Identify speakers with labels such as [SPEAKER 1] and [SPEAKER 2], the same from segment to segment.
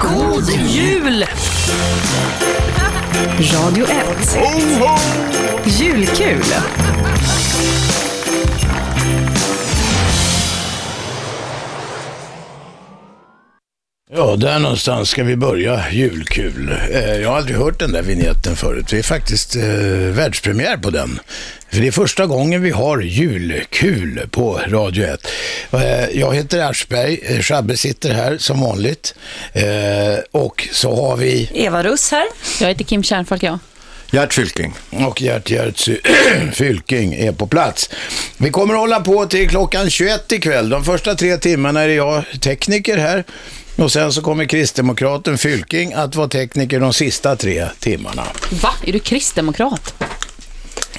[SPEAKER 1] God jul!
[SPEAKER 2] Radio 1. Julkul.
[SPEAKER 3] Ja, där någonstans ska vi börja. Julkul. Eh, jag har aldrig hört den där vignetten förut. Det är faktiskt eh, världspremiär på den. För det är första gången vi har julkul på Radio 1. Eh, jag heter Aschberg, eh, Shabbe sitter här som vanligt. Eh, och så har vi
[SPEAKER 1] Eva Russ här.
[SPEAKER 4] Jag heter Kim Kärnfalk, jag.
[SPEAKER 5] Gert Fylking.
[SPEAKER 3] och Gert Gert Fylking är på plats. Vi kommer att hålla på till klockan 21 ikväll. De första tre timmarna är det jag tekniker här. Och sen så kommer kristdemokraten Fylking att vara tekniker de sista tre timmarna.
[SPEAKER 4] Va? Är du kristdemokrat?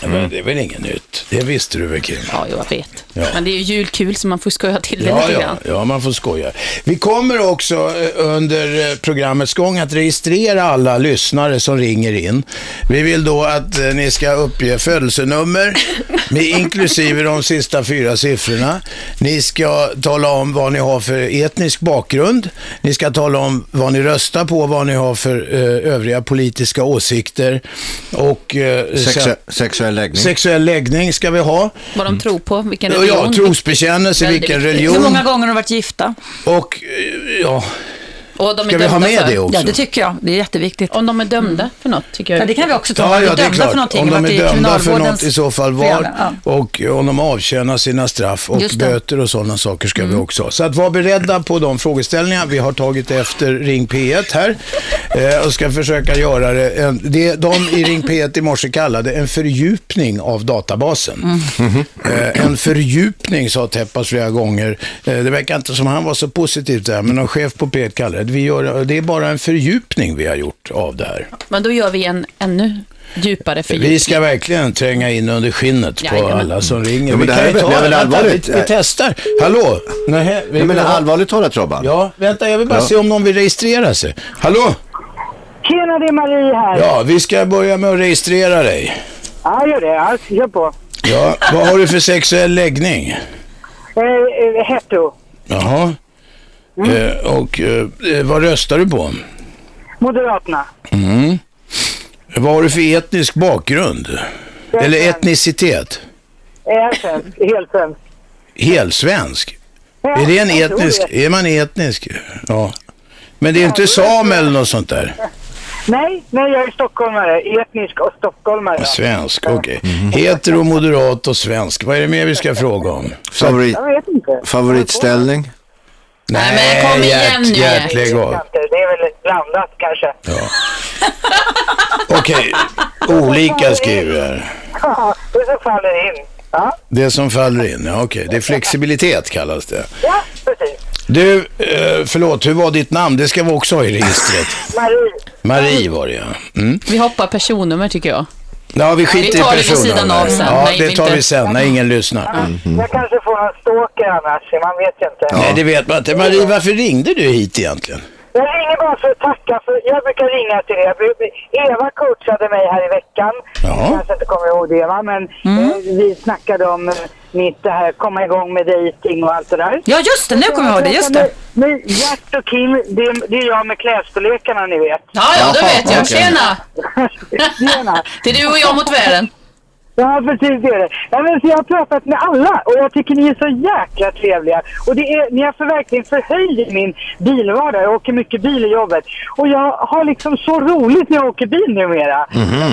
[SPEAKER 3] Men det är väl inget nytt? Det visste du väl Kim?
[SPEAKER 4] Mm. Ja, jo, jag vet.
[SPEAKER 3] Ja.
[SPEAKER 4] Men det är ju julkul, så man får skoja till det
[SPEAKER 3] Ja,
[SPEAKER 4] lite
[SPEAKER 3] ja,
[SPEAKER 4] grann.
[SPEAKER 3] ja, man får skoja. Vi kommer också eh, under eh, programmets gång att registrera alla lyssnare som ringer in. Vi vill då att eh, ni ska uppge födelsenummer, med inklusive de sista fyra siffrorna. Ni ska tala om vad ni har för etnisk bakgrund. Ni ska tala om vad ni röstar på, vad ni har för eh, övriga politiska åsikter. Och eh, sen,
[SPEAKER 5] Sexu- sexuell läggning.
[SPEAKER 3] sexuell läggning ska vi ha.
[SPEAKER 4] Vad de tror på, vilken
[SPEAKER 3] Mm. Ja, Ja,
[SPEAKER 4] religion.
[SPEAKER 3] trosbekännelse,
[SPEAKER 4] Väldigt
[SPEAKER 3] vilken
[SPEAKER 4] viktigt.
[SPEAKER 3] religion.
[SPEAKER 1] Hur många gånger har de varit gifta?
[SPEAKER 3] Och eh, ja,
[SPEAKER 4] Och de är
[SPEAKER 3] ska vi
[SPEAKER 4] dömda
[SPEAKER 3] ha med
[SPEAKER 4] för.
[SPEAKER 3] det också?
[SPEAKER 1] Ja, det tycker jag. Det är jätteviktigt.
[SPEAKER 4] Om de är dömda för något, tycker jag.
[SPEAKER 1] Ja, det kan vi också ta. Om de är
[SPEAKER 3] det är
[SPEAKER 1] dömda
[SPEAKER 3] klart.
[SPEAKER 1] för någonting.
[SPEAKER 3] Om
[SPEAKER 1] varit
[SPEAKER 3] de
[SPEAKER 1] i
[SPEAKER 3] är dömda för
[SPEAKER 1] kriminalvårdens
[SPEAKER 3] något i så fall var
[SPEAKER 1] föräldrar. Ja.
[SPEAKER 3] och om de avtjänar sina straff och
[SPEAKER 1] Just det. Mm.
[SPEAKER 3] böter och sådana saker ska vi också ha. Så att var beredda på de frågeställningarna. Vi har tagit efter Ring P1 här eh, och ska försöka göra det. En, det de i Ring P1 i morse kallade en fördjupning av databasen. Eh, en fördjupning sa Teppas flera gånger. Eh, det verkar inte som han var så positiv där, men någon chef på P1 kallade det. Vi gör, det är bara en fördjupning vi har gjort av det här.
[SPEAKER 4] Men då gör vi en ännu djupare fördjupning.
[SPEAKER 3] Vi ska verkligen tränga in under skinnet på
[SPEAKER 4] Jajamän.
[SPEAKER 3] alla som ringer.
[SPEAKER 5] Ja, men det
[SPEAKER 3] Vi kan
[SPEAKER 5] här
[SPEAKER 3] ju
[SPEAKER 5] är-
[SPEAKER 3] ta-
[SPEAKER 5] det är väl
[SPEAKER 3] vänta,
[SPEAKER 5] allvarligt?
[SPEAKER 3] Vi, vi testar. Hallå? Nej, vi
[SPEAKER 5] Jag menar
[SPEAKER 3] vill ha-
[SPEAKER 5] allvarligt talat Robban.
[SPEAKER 3] Ja, vänta, jag vill bara
[SPEAKER 5] Ja.
[SPEAKER 3] se om någon vill registrera sig. Hallå?
[SPEAKER 6] Tjena, det är Marie här. Ja,
[SPEAKER 3] Ja, vi ska börja med att registrera dig.
[SPEAKER 6] gör det. Ja, kör på.
[SPEAKER 3] Ja, vad har du för sexuell läggning?
[SPEAKER 6] Eh, eh, hetero.
[SPEAKER 3] Jaha. Eh, och eh, vad röstar du på? Mm.
[SPEAKER 6] Moderaterna.
[SPEAKER 3] Vad har du för etnisk bakgrund? Eller etnicitet?
[SPEAKER 6] Är svensk. Helt svensk.
[SPEAKER 3] Helsvensk? Är det en
[SPEAKER 6] jag tror
[SPEAKER 3] etnisk?
[SPEAKER 6] det.
[SPEAKER 3] Är man etnisk? Ja. Men det är inte sam eller något sånt där?
[SPEAKER 6] Nej, nej, jag är stockholmare. Etnisk och stockholmare.
[SPEAKER 3] Svensk, okej. Hetero, moderat och svensk. Vad är det mer vi ska fråga om?
[SPEAKER 5] Favorit,
[SPEAKER 6] Jag vet inte.
[SPEAKER 5] favoritställning.
[SPEAKER 3] Nej,
[SPEAKER 4] men kom igen nu, Gert.
[SPEAKER 3] Gert, lägg av.
[SPEAKER 6] Det är väl blandat kanske.
[SPEAKER 3] Okej, olika skriver jag.
[SPEAKER 6] Ja, det så faller in. Ja,
[SPEAKER 3] Det som faller in, ja okej. Det är flexibilitet kallas det.
[SPEAKER 6] ja precis.
[SPEAKER 3] Du, eh, förlåt, hur var ditt namn? Det ska vi också ha i registret.
[SPEAKER 6] Marie.
[SPEAKER 3] Marie var det ja. Mm.
[SPEAKER 4] Vi hoppar personnummer, tycker jag.
[SPEAKER 3] Ja, vi skiter
[SPEAKER 4] Vi tar
[SPEAKER 3] i
[SPEAKER 4] det vid
[SPEAKER 3] personnummer.
[SPEAKER 4] sidan av sen.
[SPEAKER 3] Ja,
[SPEAKER 4] Nej,
[SPEAKER 3] det
[SPEAKER 4] vi
[SPEAKER 3] tar
[SPEAKER 4] inte-
[SPEAKER 3] vi sen när ingen lyssnar.
[SPEAKER 6] Jag kanske får en stalker annars. Man vet ju inte.
[SPEAKER 3] Nej, det vet man inte. Marie, varför ringde du hit egentligen?
[SPEAKER 6] Jag ringer bara för att tacka. För jag brukar ringa till er. Eva coachade mig här i veckan.
[SPEAKER 3] Jaha.
[SPEAKER 6] Jag kanske inte kommer ihåg det, va? men
[SPEAKER 1] Mm.
[SPEAKER 6] eh, vi snackade om eh, mitt det här komma igång med dejting och allt det där.
[SPEAKER 1] Ja, just det. Nu kommer jag ihåg det. Just det.
[SPEAKER 6] Men Gert och Kim, det är, det är jag med klädstorlekarna ni vet.
[SPEAKER 4] Ja, ja, då
[SPEAKER 5] Jaha,
[SPEAKER 4] vet jag.
[SPEAKER 5] okej.
[SPEAKER 4] Tjena!
[SPEAKER 6] Tjena.
[SPEAKER 4] Det är du och jag mot världen.
[SPEAKER 6] Ja, precis det är det. Ja, men, så jag har pratat med alla och jag tycker ni är så jäkla trevliga. Och det är, ni har för verkligen förhöjt min bilvardag. Jag åker mycket bil i jobbet. Och jag har liksom så roligt när jag åker bil numera.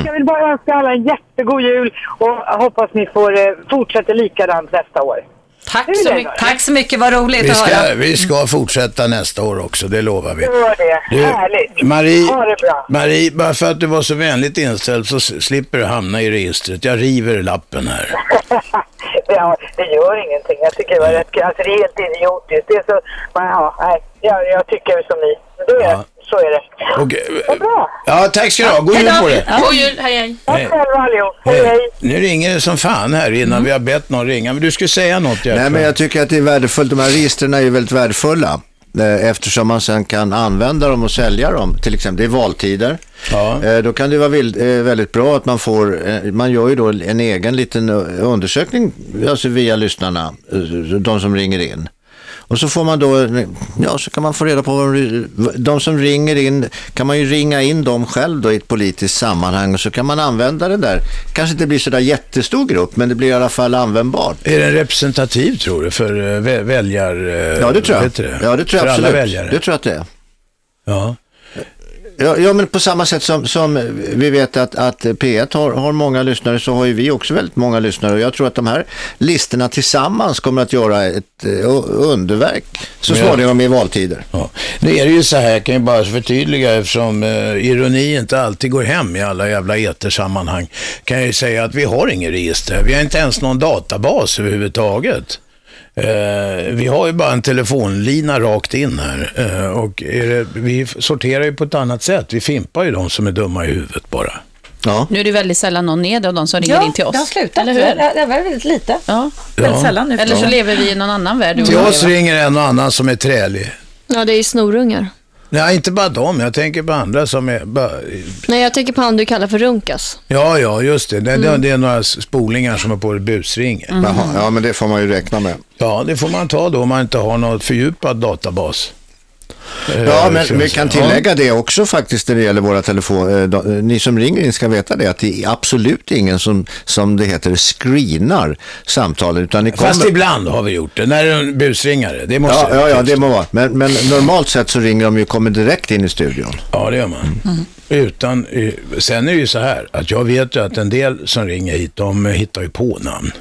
[SPEAKER 6] Jag vill bara önska alla en jättegod jul och hoppas ni får eh, fortsätta likadant nästa år.
[SPEAKER 1] Tack
[SPEAKER 6] så
[SPEAKER 1] så
[SPEAKER 6] mycket.
[SPEAKER 1] mycket. Tack så mycket. Vad roligt
[SPEAKER 3] Vi
[SPEAKER 1] att höra.
[SPEAKER 3] ska, vi
[SPEAKER 4] Mm.
[SPEAKER 3] ska fortsätta nästa år också, det lovar vi.
[SPEAKER 6] Gör det.
[SPEAKER 3] Du,
[SPEAKER 6] Härligt.
[SPEAKER 3] Marie,
[SPEAKER 6] Ha det bra.
[SPEAKER 3] Marie, bara för att du var så vänligt inställd så s- slipper du hamna i registret. Jag river lappen här.
[SPEAKER 6] Ja, det gör ingenting. Jag tycker det var rätt kul. Alltså det är helt idiotiskt. Det är så, men, ja, nej, jag, jag tycker som ni. Det,
[SPEAKER 3] Ja.
[SPEAKER 6] Så är det.
[SPEAKER 3] Och, eh,
[SPEAKER 6] Vad bra.
[SPEAKER 3] ja, tack ska du ha. God jul på dig.
[SPEAKER 4] God jul, hej, hej.
[SPEAKER 6] Tack
[SPEAKER 3] Hej.
[SPEAKER 6] själva allihop. Hej, hej.
[SPEAKER 3] Nu ringer det som fan här innan
[SPEAKER 4] Mm.
[SPEAKER 3] vi har bett någon ringa. Men du skulle säga något, Gert.
[SPEAKER 5] Nej men jag tycker att det är värdefullt. De här registren är ju väldigt värdefulla. eh, Eftersom man sen kan använda dem och sälja dem. Till exempel, det är valtider.
[SPEAKER 3] Ja.
[SPEAKER 5] Eh, Då kan det vara vill- eh, väldigt bra att man får, eh, man gör ju då en egen liten eh, undersökning, alltså via lyssnarna, eh, de som ringer in. Och så får man då, ja så kan man få reda på vad de, de som ringer in, kan man ju ringa in dem själv då i ett politiskt sammanhang och så kan man använda det där. Kanske inte blir sådär jättestor grupp, men det blir i alla fall användbart.
[SPEAKER 3] Är den representativ tror du för eh, vä- väljar... eh,
[SPEAKER 5] Ja, det tror jag.
[SPEAKER 3] heter det?
[SPEAKER 5] Ja, det tror jag
[SPEAKER 3] för
[SPEAKER 5] absolut.
[SPEAKER 3] alla väljare?
[SPEAKER 5] Det tror jag att det är.
[SPEAKER 3] Ja.
[SPEAKER 5] Ja, ja, men på samma sätt som, som vi vet att, att P1 har, har många lyssnare så har ju vi också väldigt många lyssnare och jag tror att de här listorna tillsammans kommer att göra ett eh, underverk så
[SPEAKER 3] Ja.
[SPEAKER 5] småningom i valtider.
[SPEAKER 3] Ja. Nu är det ju så här, jag kan ju bara förtydliga eftersom eh, ironi inte alltid går hem i alla jävla etersammanhang. Kan jag ju säga att vi har ingen register. Vi har inte ens någon databas överhuvudtaget. Eh, vi har ju bara en telefonlina rakt in här. Eh, och är det, vi f- sorterar ju på ett annat sätt. Vi fimpar ju de som är dumma i huvudet bara.
[SPEAKER 5] Ja.
[SPEAKER 4] Nu är det väldigt sällan någon är det av de som ringer in till oss.
[SPEAKER 1] det har slutat.
[SPEAKER 4] Eller hur?
[SPEAKER 1] Det det var väldigt lite.
[SPEAKER 4] Ja.
[SPEAKER 1] Väldigt sällan nu. för
[SPEAKER 4] Eller så
[SPEAKER 1] tiden.
[SPEAKER 4] lever vi i någon annan värld. du och
[SPEAKER 3] Till
[SPEAKER 4] jag
[SPEAKER 3] oss
[SPEAKER 4] lever.
[SPEAKER 3] ringer en och annan som är trälig.
[SPEAKER 2] Ja, det är ju snorungar.
[SPEAKER 3] Nej, inte bara dem. Jag tänker på andra som är... Bara,
[SPEAKER 2] Nej, jag tänker på han du kallar för Runkas.
[SPEAKER 3] Ja, ja, just det. Det,
[SPEAKER 1] Mm.
[SPEAKER 3] det, det är några spolingar som är på busringen.
[SPEAKER 5] Jaha, ja, men det får man ju räkna med.
[SPEAKER 3] Ja, det får man ta då om man inte har någon fördjupad databas. Eh,
[SPEAKER 5] Ja, men
[SPEAKER 3] för-
[SPEAKER 5] vi kan tillägga det också faktiskt när det gäller våra telefoner. Eh, de- eh, Ni som ringer in ska veta det att det är absolut ingen som, som det heter, screenar samtalen. Utan ni
[SPEAKER 3] Ja. Fast
[SPEAKER 5] kommer...
[SPEAKER 3] ibland har vi gjort det, när det är en busringare. Det måste
[SPEAKER 5] Ja, ja, ja, det må vara. Men, men normalt sett så ringer de ju och kommer direkt in i studion.
[SPEAKER 3] Ja, det gör man.
[SPEAKER 1] Mm.
[SPEAKER 3] Utan, eh, sen är det ju så här, att jag vet ju att en del som ringer hit, de eh, hittar ju på namn.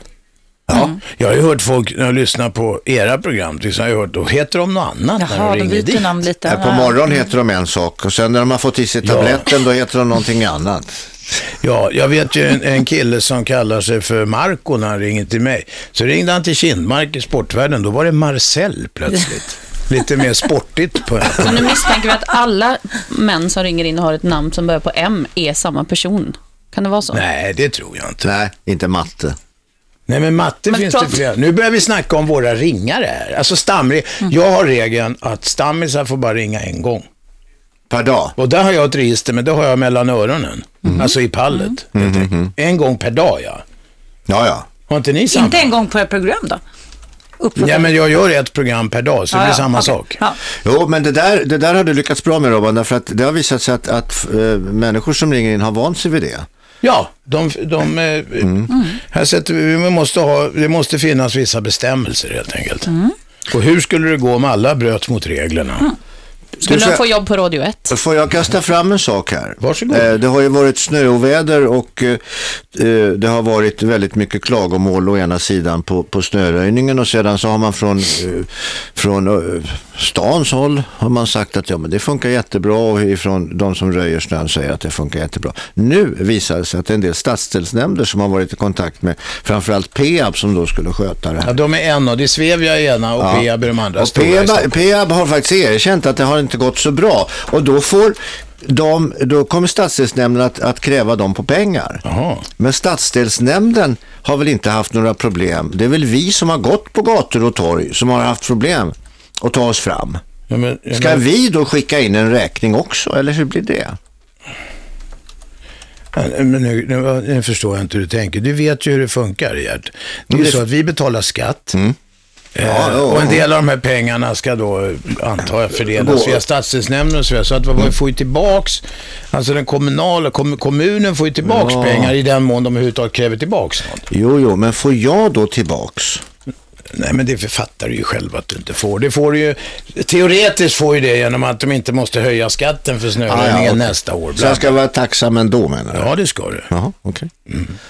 [SPEAKER 3] Ja,
[SPEAKER 1] Mm.
[SPEAKER 3] jag har ju hört folk, när jag lyssnar på era program, till exempel, jag har jag hört, då heter de något annat när
[SPEAKER 1] Jaha,
[SPEAKER 3] de
[SPEAKER 1] de
[SPEAKER 3] ringer
[SPEAKER 1] byter
[SPEAKER 3] dit.
[SPEAKER 1] namn lite.
[SPEAKER 5] Här Eh, på
[SPEAKER 1] Ja.
[SPEAKER 5] morgonen heter de en sak och sen när de har fått i sig tabletten då heter de någonting annat.
[SPEAKER 3] Ja, jag vet ju en, en kille som kallar sig för Marco när han ringer till mig. Så ringde han till Kindmark i Sportvärlden, då var det Marcel plötsligt. Lite mer sportigt på
[SPEAKER 4] Så nu misstänker vi att alla män som ringer in och har ett namn som börjar på M är samma person. Kan det vara så?
[SPEAKER 3] Nej, det tror jag inte.
[SPEAKER 5] Nej, inte matte.
[SPEAKER 3] Nej, men matte
[SPEAKER 4] Men
[SPEAKER 3] finns
[SPEAKER 4] prata-
[SPEAKER 3] det flera. Nu börjar vi snacka om våra ringare här. Alltså stamring. Jag har regeln att stammisar får bara ringa en gång.
[SPEAKER 5] Per dag. Mm.
[SPEAKER 3] Och där har jag ett register, men det har jag mellan öronen. Alltså i pallet. helt
[SPEAKER 5] Mhm.
[SPEAKER 3] enkelt. En gång per dag, ja.
[SPEAKER 5] Ja, ja.
[SPEAKER 3] Har inte ni samma?
[SPEAKER 1] Inte en gång på ett program då? Upp
[SPEAKER 3] Ja, men jag gör ett program per dag, så det
[SPEAKER 1] Ja,
[SPEAKER 3] blir
[SPEAKER 1] ja,
[SPEAKER 3] samma
[SPEAKER 1] okej.
[SPEAKER 3] sak.
[SPEAKER 1] Ja.
[SPEAKER 5] Jo, men det där, det där har du lyckats bra med Robban, därför att det har visat sig att, att eh, människor som ringer in har vant sig vid det.
[SPEAKER 3] Ja, de, de, eh, Här sätter vi, vi måste ha, det måste finnas vissa bestämmelser helt enkelt.
[SPEAKER 5] Mm.
[SPEAKER 3] Och hur skulle det gå om alla bröt mot reglerna?
[SPEAKER 4] Skulle
[SPEAKER 5] Du får-
[SPEAKER 4] de få jobb på Radio 1?
[SPEAKER 5] Får jag kasta fram en sak här?
[SPEAKER 3] Varsågod.
[SPEAKER 5] Eh, Det har ju varit snöoväder och eh, eh, det har varit väldigt mycket klagomål å ena sidan på, på snöröjningen och sedan så har man från, eh, från eh, stans håll har man sagt att ja, men det funkar jättebra och ifrån de som röjer snön säger att det funkar jättebra. Nu visar det sig att det är en del stadsdelsnämnder som har varit i kontakt med framförallt Peab som då skulle sköta det här.
[SPEAKER 3] Ja, de är en och det är Svevia i ena och
[SPEAKER 5] Ja.
[SPEAKER 3] Peab är de andra
[SPEAKER 5] Och
[SPEAKER 3] stora i
[SPEAKER 5] Peab,
[SPEAKER 3] Stockholm.
[SPEAKER 5] Peab har faktiskt erkänt att det har inte gått så bra. Och då, får de, då kommer stadsdelsnämnden att, att kräva dem på pengar.
[SPEAKER 3] Jaha.
[SPEAKER 5] Men stadsdelsnämnden har väl inte haft några problem. Det är väl vi som har gått på gator och torg som har haft problem att ta oss fram.
[SPEAKER 3] Ja, men, ja,
[SPEAKER 5] Ska
[SPEAKER 3] men-
[SPEAKER 5] vi då skicka in en räkning också, eller hur blir det?
[SPEAKER 3] ja, men nu, nu, nu förstår jag inte hur du tänker. Du vet ju hur det funkar, Gert. Det är
[SPEAKER 5] Men
[SPEAKER 3] ju
[SPEAKER 5] det-
[SPEAKER 3] så att vi betalar skatt.
[SPEAKER 5] Mm.
[SPEAKER 3] Eh,
[SPEAKER 5] Ja, ja,
[SPEAKER 3] och en
[SPEAKER 5] ja.
[SPEAKER 3] del av de här pengarna ska då, eh, antar jag, fördelas
[SPEAKER 5] Gå-
[SPEAKER 3] via stadsdelsnämnden och så vidare. Så att vi får ju tillbaks, alltså den kommunala, kom, kommunen får ju tillbaks
[SPEAKER 5] Ja.
[SPEAKER 3] pengar i den mån de överhuvudtaget kräver tillbaks något.
[SPEAKER 5] Jo, jo, men får jag då tillbaks?
[SPEAKER 3] Nej, men det författar du ju själv att du inte får. Det får du ju, teoretiskt får ju det genom att de inte måste höja skatten för snöröjningen
[SPEAKER 5] okej.
[SPEAKER 3] nästa år.
[SPEAKER 5] Så jag ska vara tacksam ändå, menar du?
[SPEAKER 3] Ja, det ska du.
[SPEAKER 5] Jaha, okej.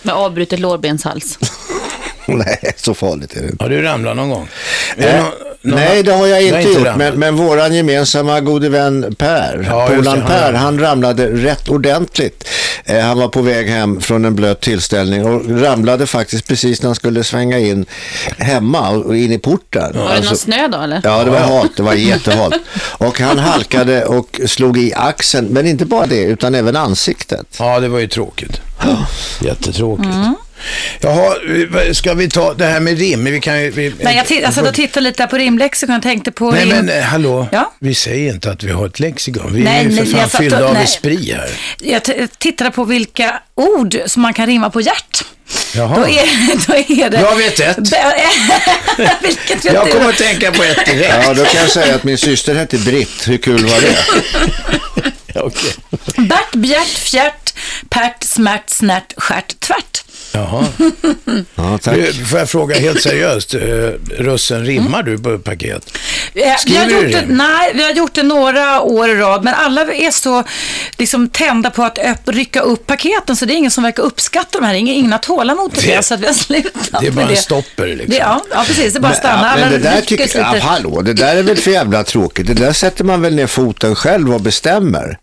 [SPEAKER 4] Med avbrutet lårbenshals.
[SPEAKER 5] Nej, så farligt är det inte.
[SPEAKER 3] Har du ramlat någon gång? Är det
[SPEAKER 5] Eh,
[SPEAKER 3] nå- någon-
[SPEAKER 5] nej, det har jag
[SPEAKER 3] Du
[SPEAKER 5] inte, gjort.
[SPEAKER 3] ramlat?
[SPEAKER 5] Men, men våran gemensamma gode vän Per,
[SPEAKER 3] Ja, just
[SPEAKER 5] Polan
[SPEAKER 3] det, han
[SPEAKER 5] Per,
[SPEAKER 3] ramlade.
[SPEAKER 5] han ramlade rätt ordentligt. Eh, han var på väg hem från en blöt tillställning och ramlade faktiskt precis när han skulle svänga in hemma och och in i porten. Alltså-
[SPEAKER 4] Var det
[SPEAKER 3] alltså-
[SPEAKER 4] någon snö då eller?
[SPEAKER 5] Ja, det var halt. Det var jättehalt. Och han halkade och slog i axeln, men inte bara det, utan även ansiktet.
[SPEAKER 1] Mm.
[SPEAKER 3] Ja, det var ju tråkigt. Jättetråkigt. Jaha, eh, ska vi ta det här med rim? Vi kan ju... Vi,
[SPEAKER 1] Nej, jag titt, alltså, då tittar jag lite på rimlexikon och tänkte på
[SPEAKER 3] Nej
[SPEAKER 1] rim.
[SPEAKER 3] men eh, hallå,
[SPEAKER 1] Ja?
[SPEAKER 3] vi säger inte att vi har ett lexikon. Vi
[SPEAKER 1] Nej,
[SPEAKER 3] är ju för
[SPEAKER 1] men
[SPEAKER 3] fan
[SPEAKER 1] jag satt och-
[SPEAKER 3] fyllda av
[SPEAKER 1] nej.
[SPEAKER 3] esprit här.
[SPEAKER 1] Jag t- tittade på vilka ord som man kan rimma på hjärt.
[SPEAKER 3] Jaha.
[SPEAKER 1] Då är, då är det...
[SPEAKER 3] Jag vet ett.
[SPEAKER 1] Be- Vilket vet
[SPEAKER 3] Jag
[SPEAKER 1] du?
[SPEAKER 3] kommer att tänka på ett direkt.
[SPEAKER 5] Ja, då kan jag säga att min syster hette Britt. Hur kul var det?
[SPEAKER 3] Okej.
[SPEAKER 1] Bert, Bjärt, Fjärt, Pärt, Smärt, Snärt, Stjärt, Tvärt.
[SPEAKER 3] Jaha.
[SPEAKER 5] Ja, tack.
[SPEAKER 3] Du, får jag fråga helt seriöst, eh, russen, rimmar du på paket?
[SPEAKER 1] Eh, Vi har
[SPEAKER 3] Skriver du
[SPEAKER 1] gjort det,
[SPEAKER 3] rim?
[SPEAKER 1] nej, vi har gjort det några år i rad, men alla är så liksom, tända på att öpp, rycka upp paketen, så det är ingen som verkar uppskatta de här. Ingen, ingen har tålamod till
[SPEAKER 3] Det-
[SPEAKER 1] det, så att vi har slutat
[SPEAKER 3] Det är bara
[SPEAKER 1] med
[SPEAKER 3] en
[SPEAKER 1] det.
[SPEAKER 3] stopper liksom.
[SPEAKER 1] Det, ja, ja, precis. Det bara stannar.
[SPEAKER 5] Ja,
[SPEAKER 1] Alla
[SPEAKER 5] men det där
[SPEAKER 1] rycker och
[SPEAKER 5] tycker jag,
[SPEAKER 1] sliter.
[SPEAKER 5] hallå, det där är väl för jävla tråkigt. Det där sätter man väl ner foten själv och bestämmer.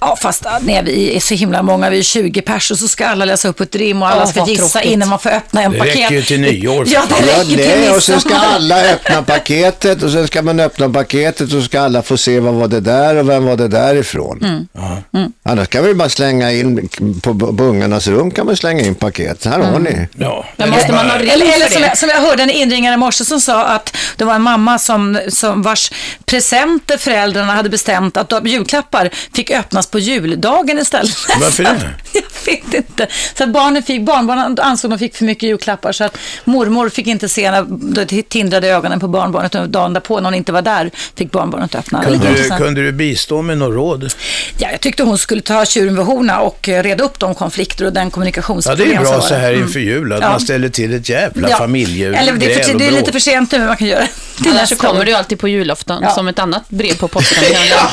[SPEAKER 1] Ja, fast ah, nej, vi är så himla många, vi är 20 personer, så ska alla läsa upp ett rim och alla
[SPEAKER 4] Ja,
[SPEAKER 1] ska
[SPEAKER 4] vad
[SPEAKER 1] gissa
[SPEAKER 4] tråkigt.
[SPEAKER 1] innan man får öppna en
[SPEAKER 3] Det
[SPEAKER 1] paket.
[SPEAKER 3] räcker ju till nyår, för
[SPEAKER 1] Ja,
[SPEAKER 3] fan.
[SPEAKER 1] det
[SPEAKER 5] Ja,
[SPEAKER 1] räcker till
[SPEAKER 5] nej, och sen ska
[SPEAKER 1] midsommar.
[SPEAKER 5] alla öppna paketet och sen ska man öppna paketet och så ska alla få se vad var det där och vem var det där ifrån.
[SPEAKER 1] Mm.
[SPEAKER 5] Annars kan vi bara slänga in, på på ungarnas rum kan man slänga in paket. Här
[SPEAKER 1] Mm.
[SPEAKER 5] har ni.
[SPEAKER 3] Ja.
[SPEAKER 4] Men måste man ha rim
[SPEAKER 1] Eller, eller
[SPEAKER 4] för
[SPEAKER 1] som,
[SPEAKER 4] det?
[SPEAKER 1] jag, som jag hörde en inringare i morse som sa att det var en mamma som, som vars presenter föräldrarna hade bestämt att de- julklappar fick öppnas på juldagen istället.
[SPEAKER 3] Varför
[SPEAKER 1] Så
[SPEAKER 3] det?
[SPEAKER 1] att- Jag vet inte. Så att barnen fick, barnbarnen ansåg de fick för mycket julklappar så att mormor fick inte se när det tindrade ögonen på barnbarnet och dagen därpå när hon inte var där fick barnbarnet öppna. Lite
[SPEAKER 3] Kunde, du,
[SPEAKER 1] intressant.
[SPEAKER 3] kunde du bistå med något råd?
[SPEAKER 1] Ja, jag tyckte hon skulle ta tjuren vid horna och eh, reda upp de konflikter och den
[SPEAKER 3] Ja, det
[SPEAKER 1] kommunikationsproblem
[SPEAKER 3] är
[SPEAKER 1] som
[SPEAKER 3] bra
[SPEAKER 1] var
[SPEAKER 3] så
[SPEAKER 1] där.
[SPEAKER 3] här
[SPEAKER 1] Mm.
[SPEAKER 3] inför jul, att
[SPEAKER 1] Ja.
[SPEAKER 3] man ställer till ett jävla
[SPEAKER 1] Ja.
[SPEAKER 3] familje...
[SPEAKER 1] Eller det är,
[SPEAKER 3] gräl
[SPEAKER 1] för,
[SPEAKER 3] och
[SPEAKER 1] det är lite
[SPEAKER 3] bråk.
[SPEAKER 1] för sent nu, men man kan göra det till
[SPEAKER 4] Annars så
[SPEAKER 1] nästa
[SPEAKER 4] kommer
[SPEAKER 1] år.
[SPEAKER 4] du alltid på julafton
[SPEAKER 1] Ja.
[SPEAKER 4] som ett annat brev på posten.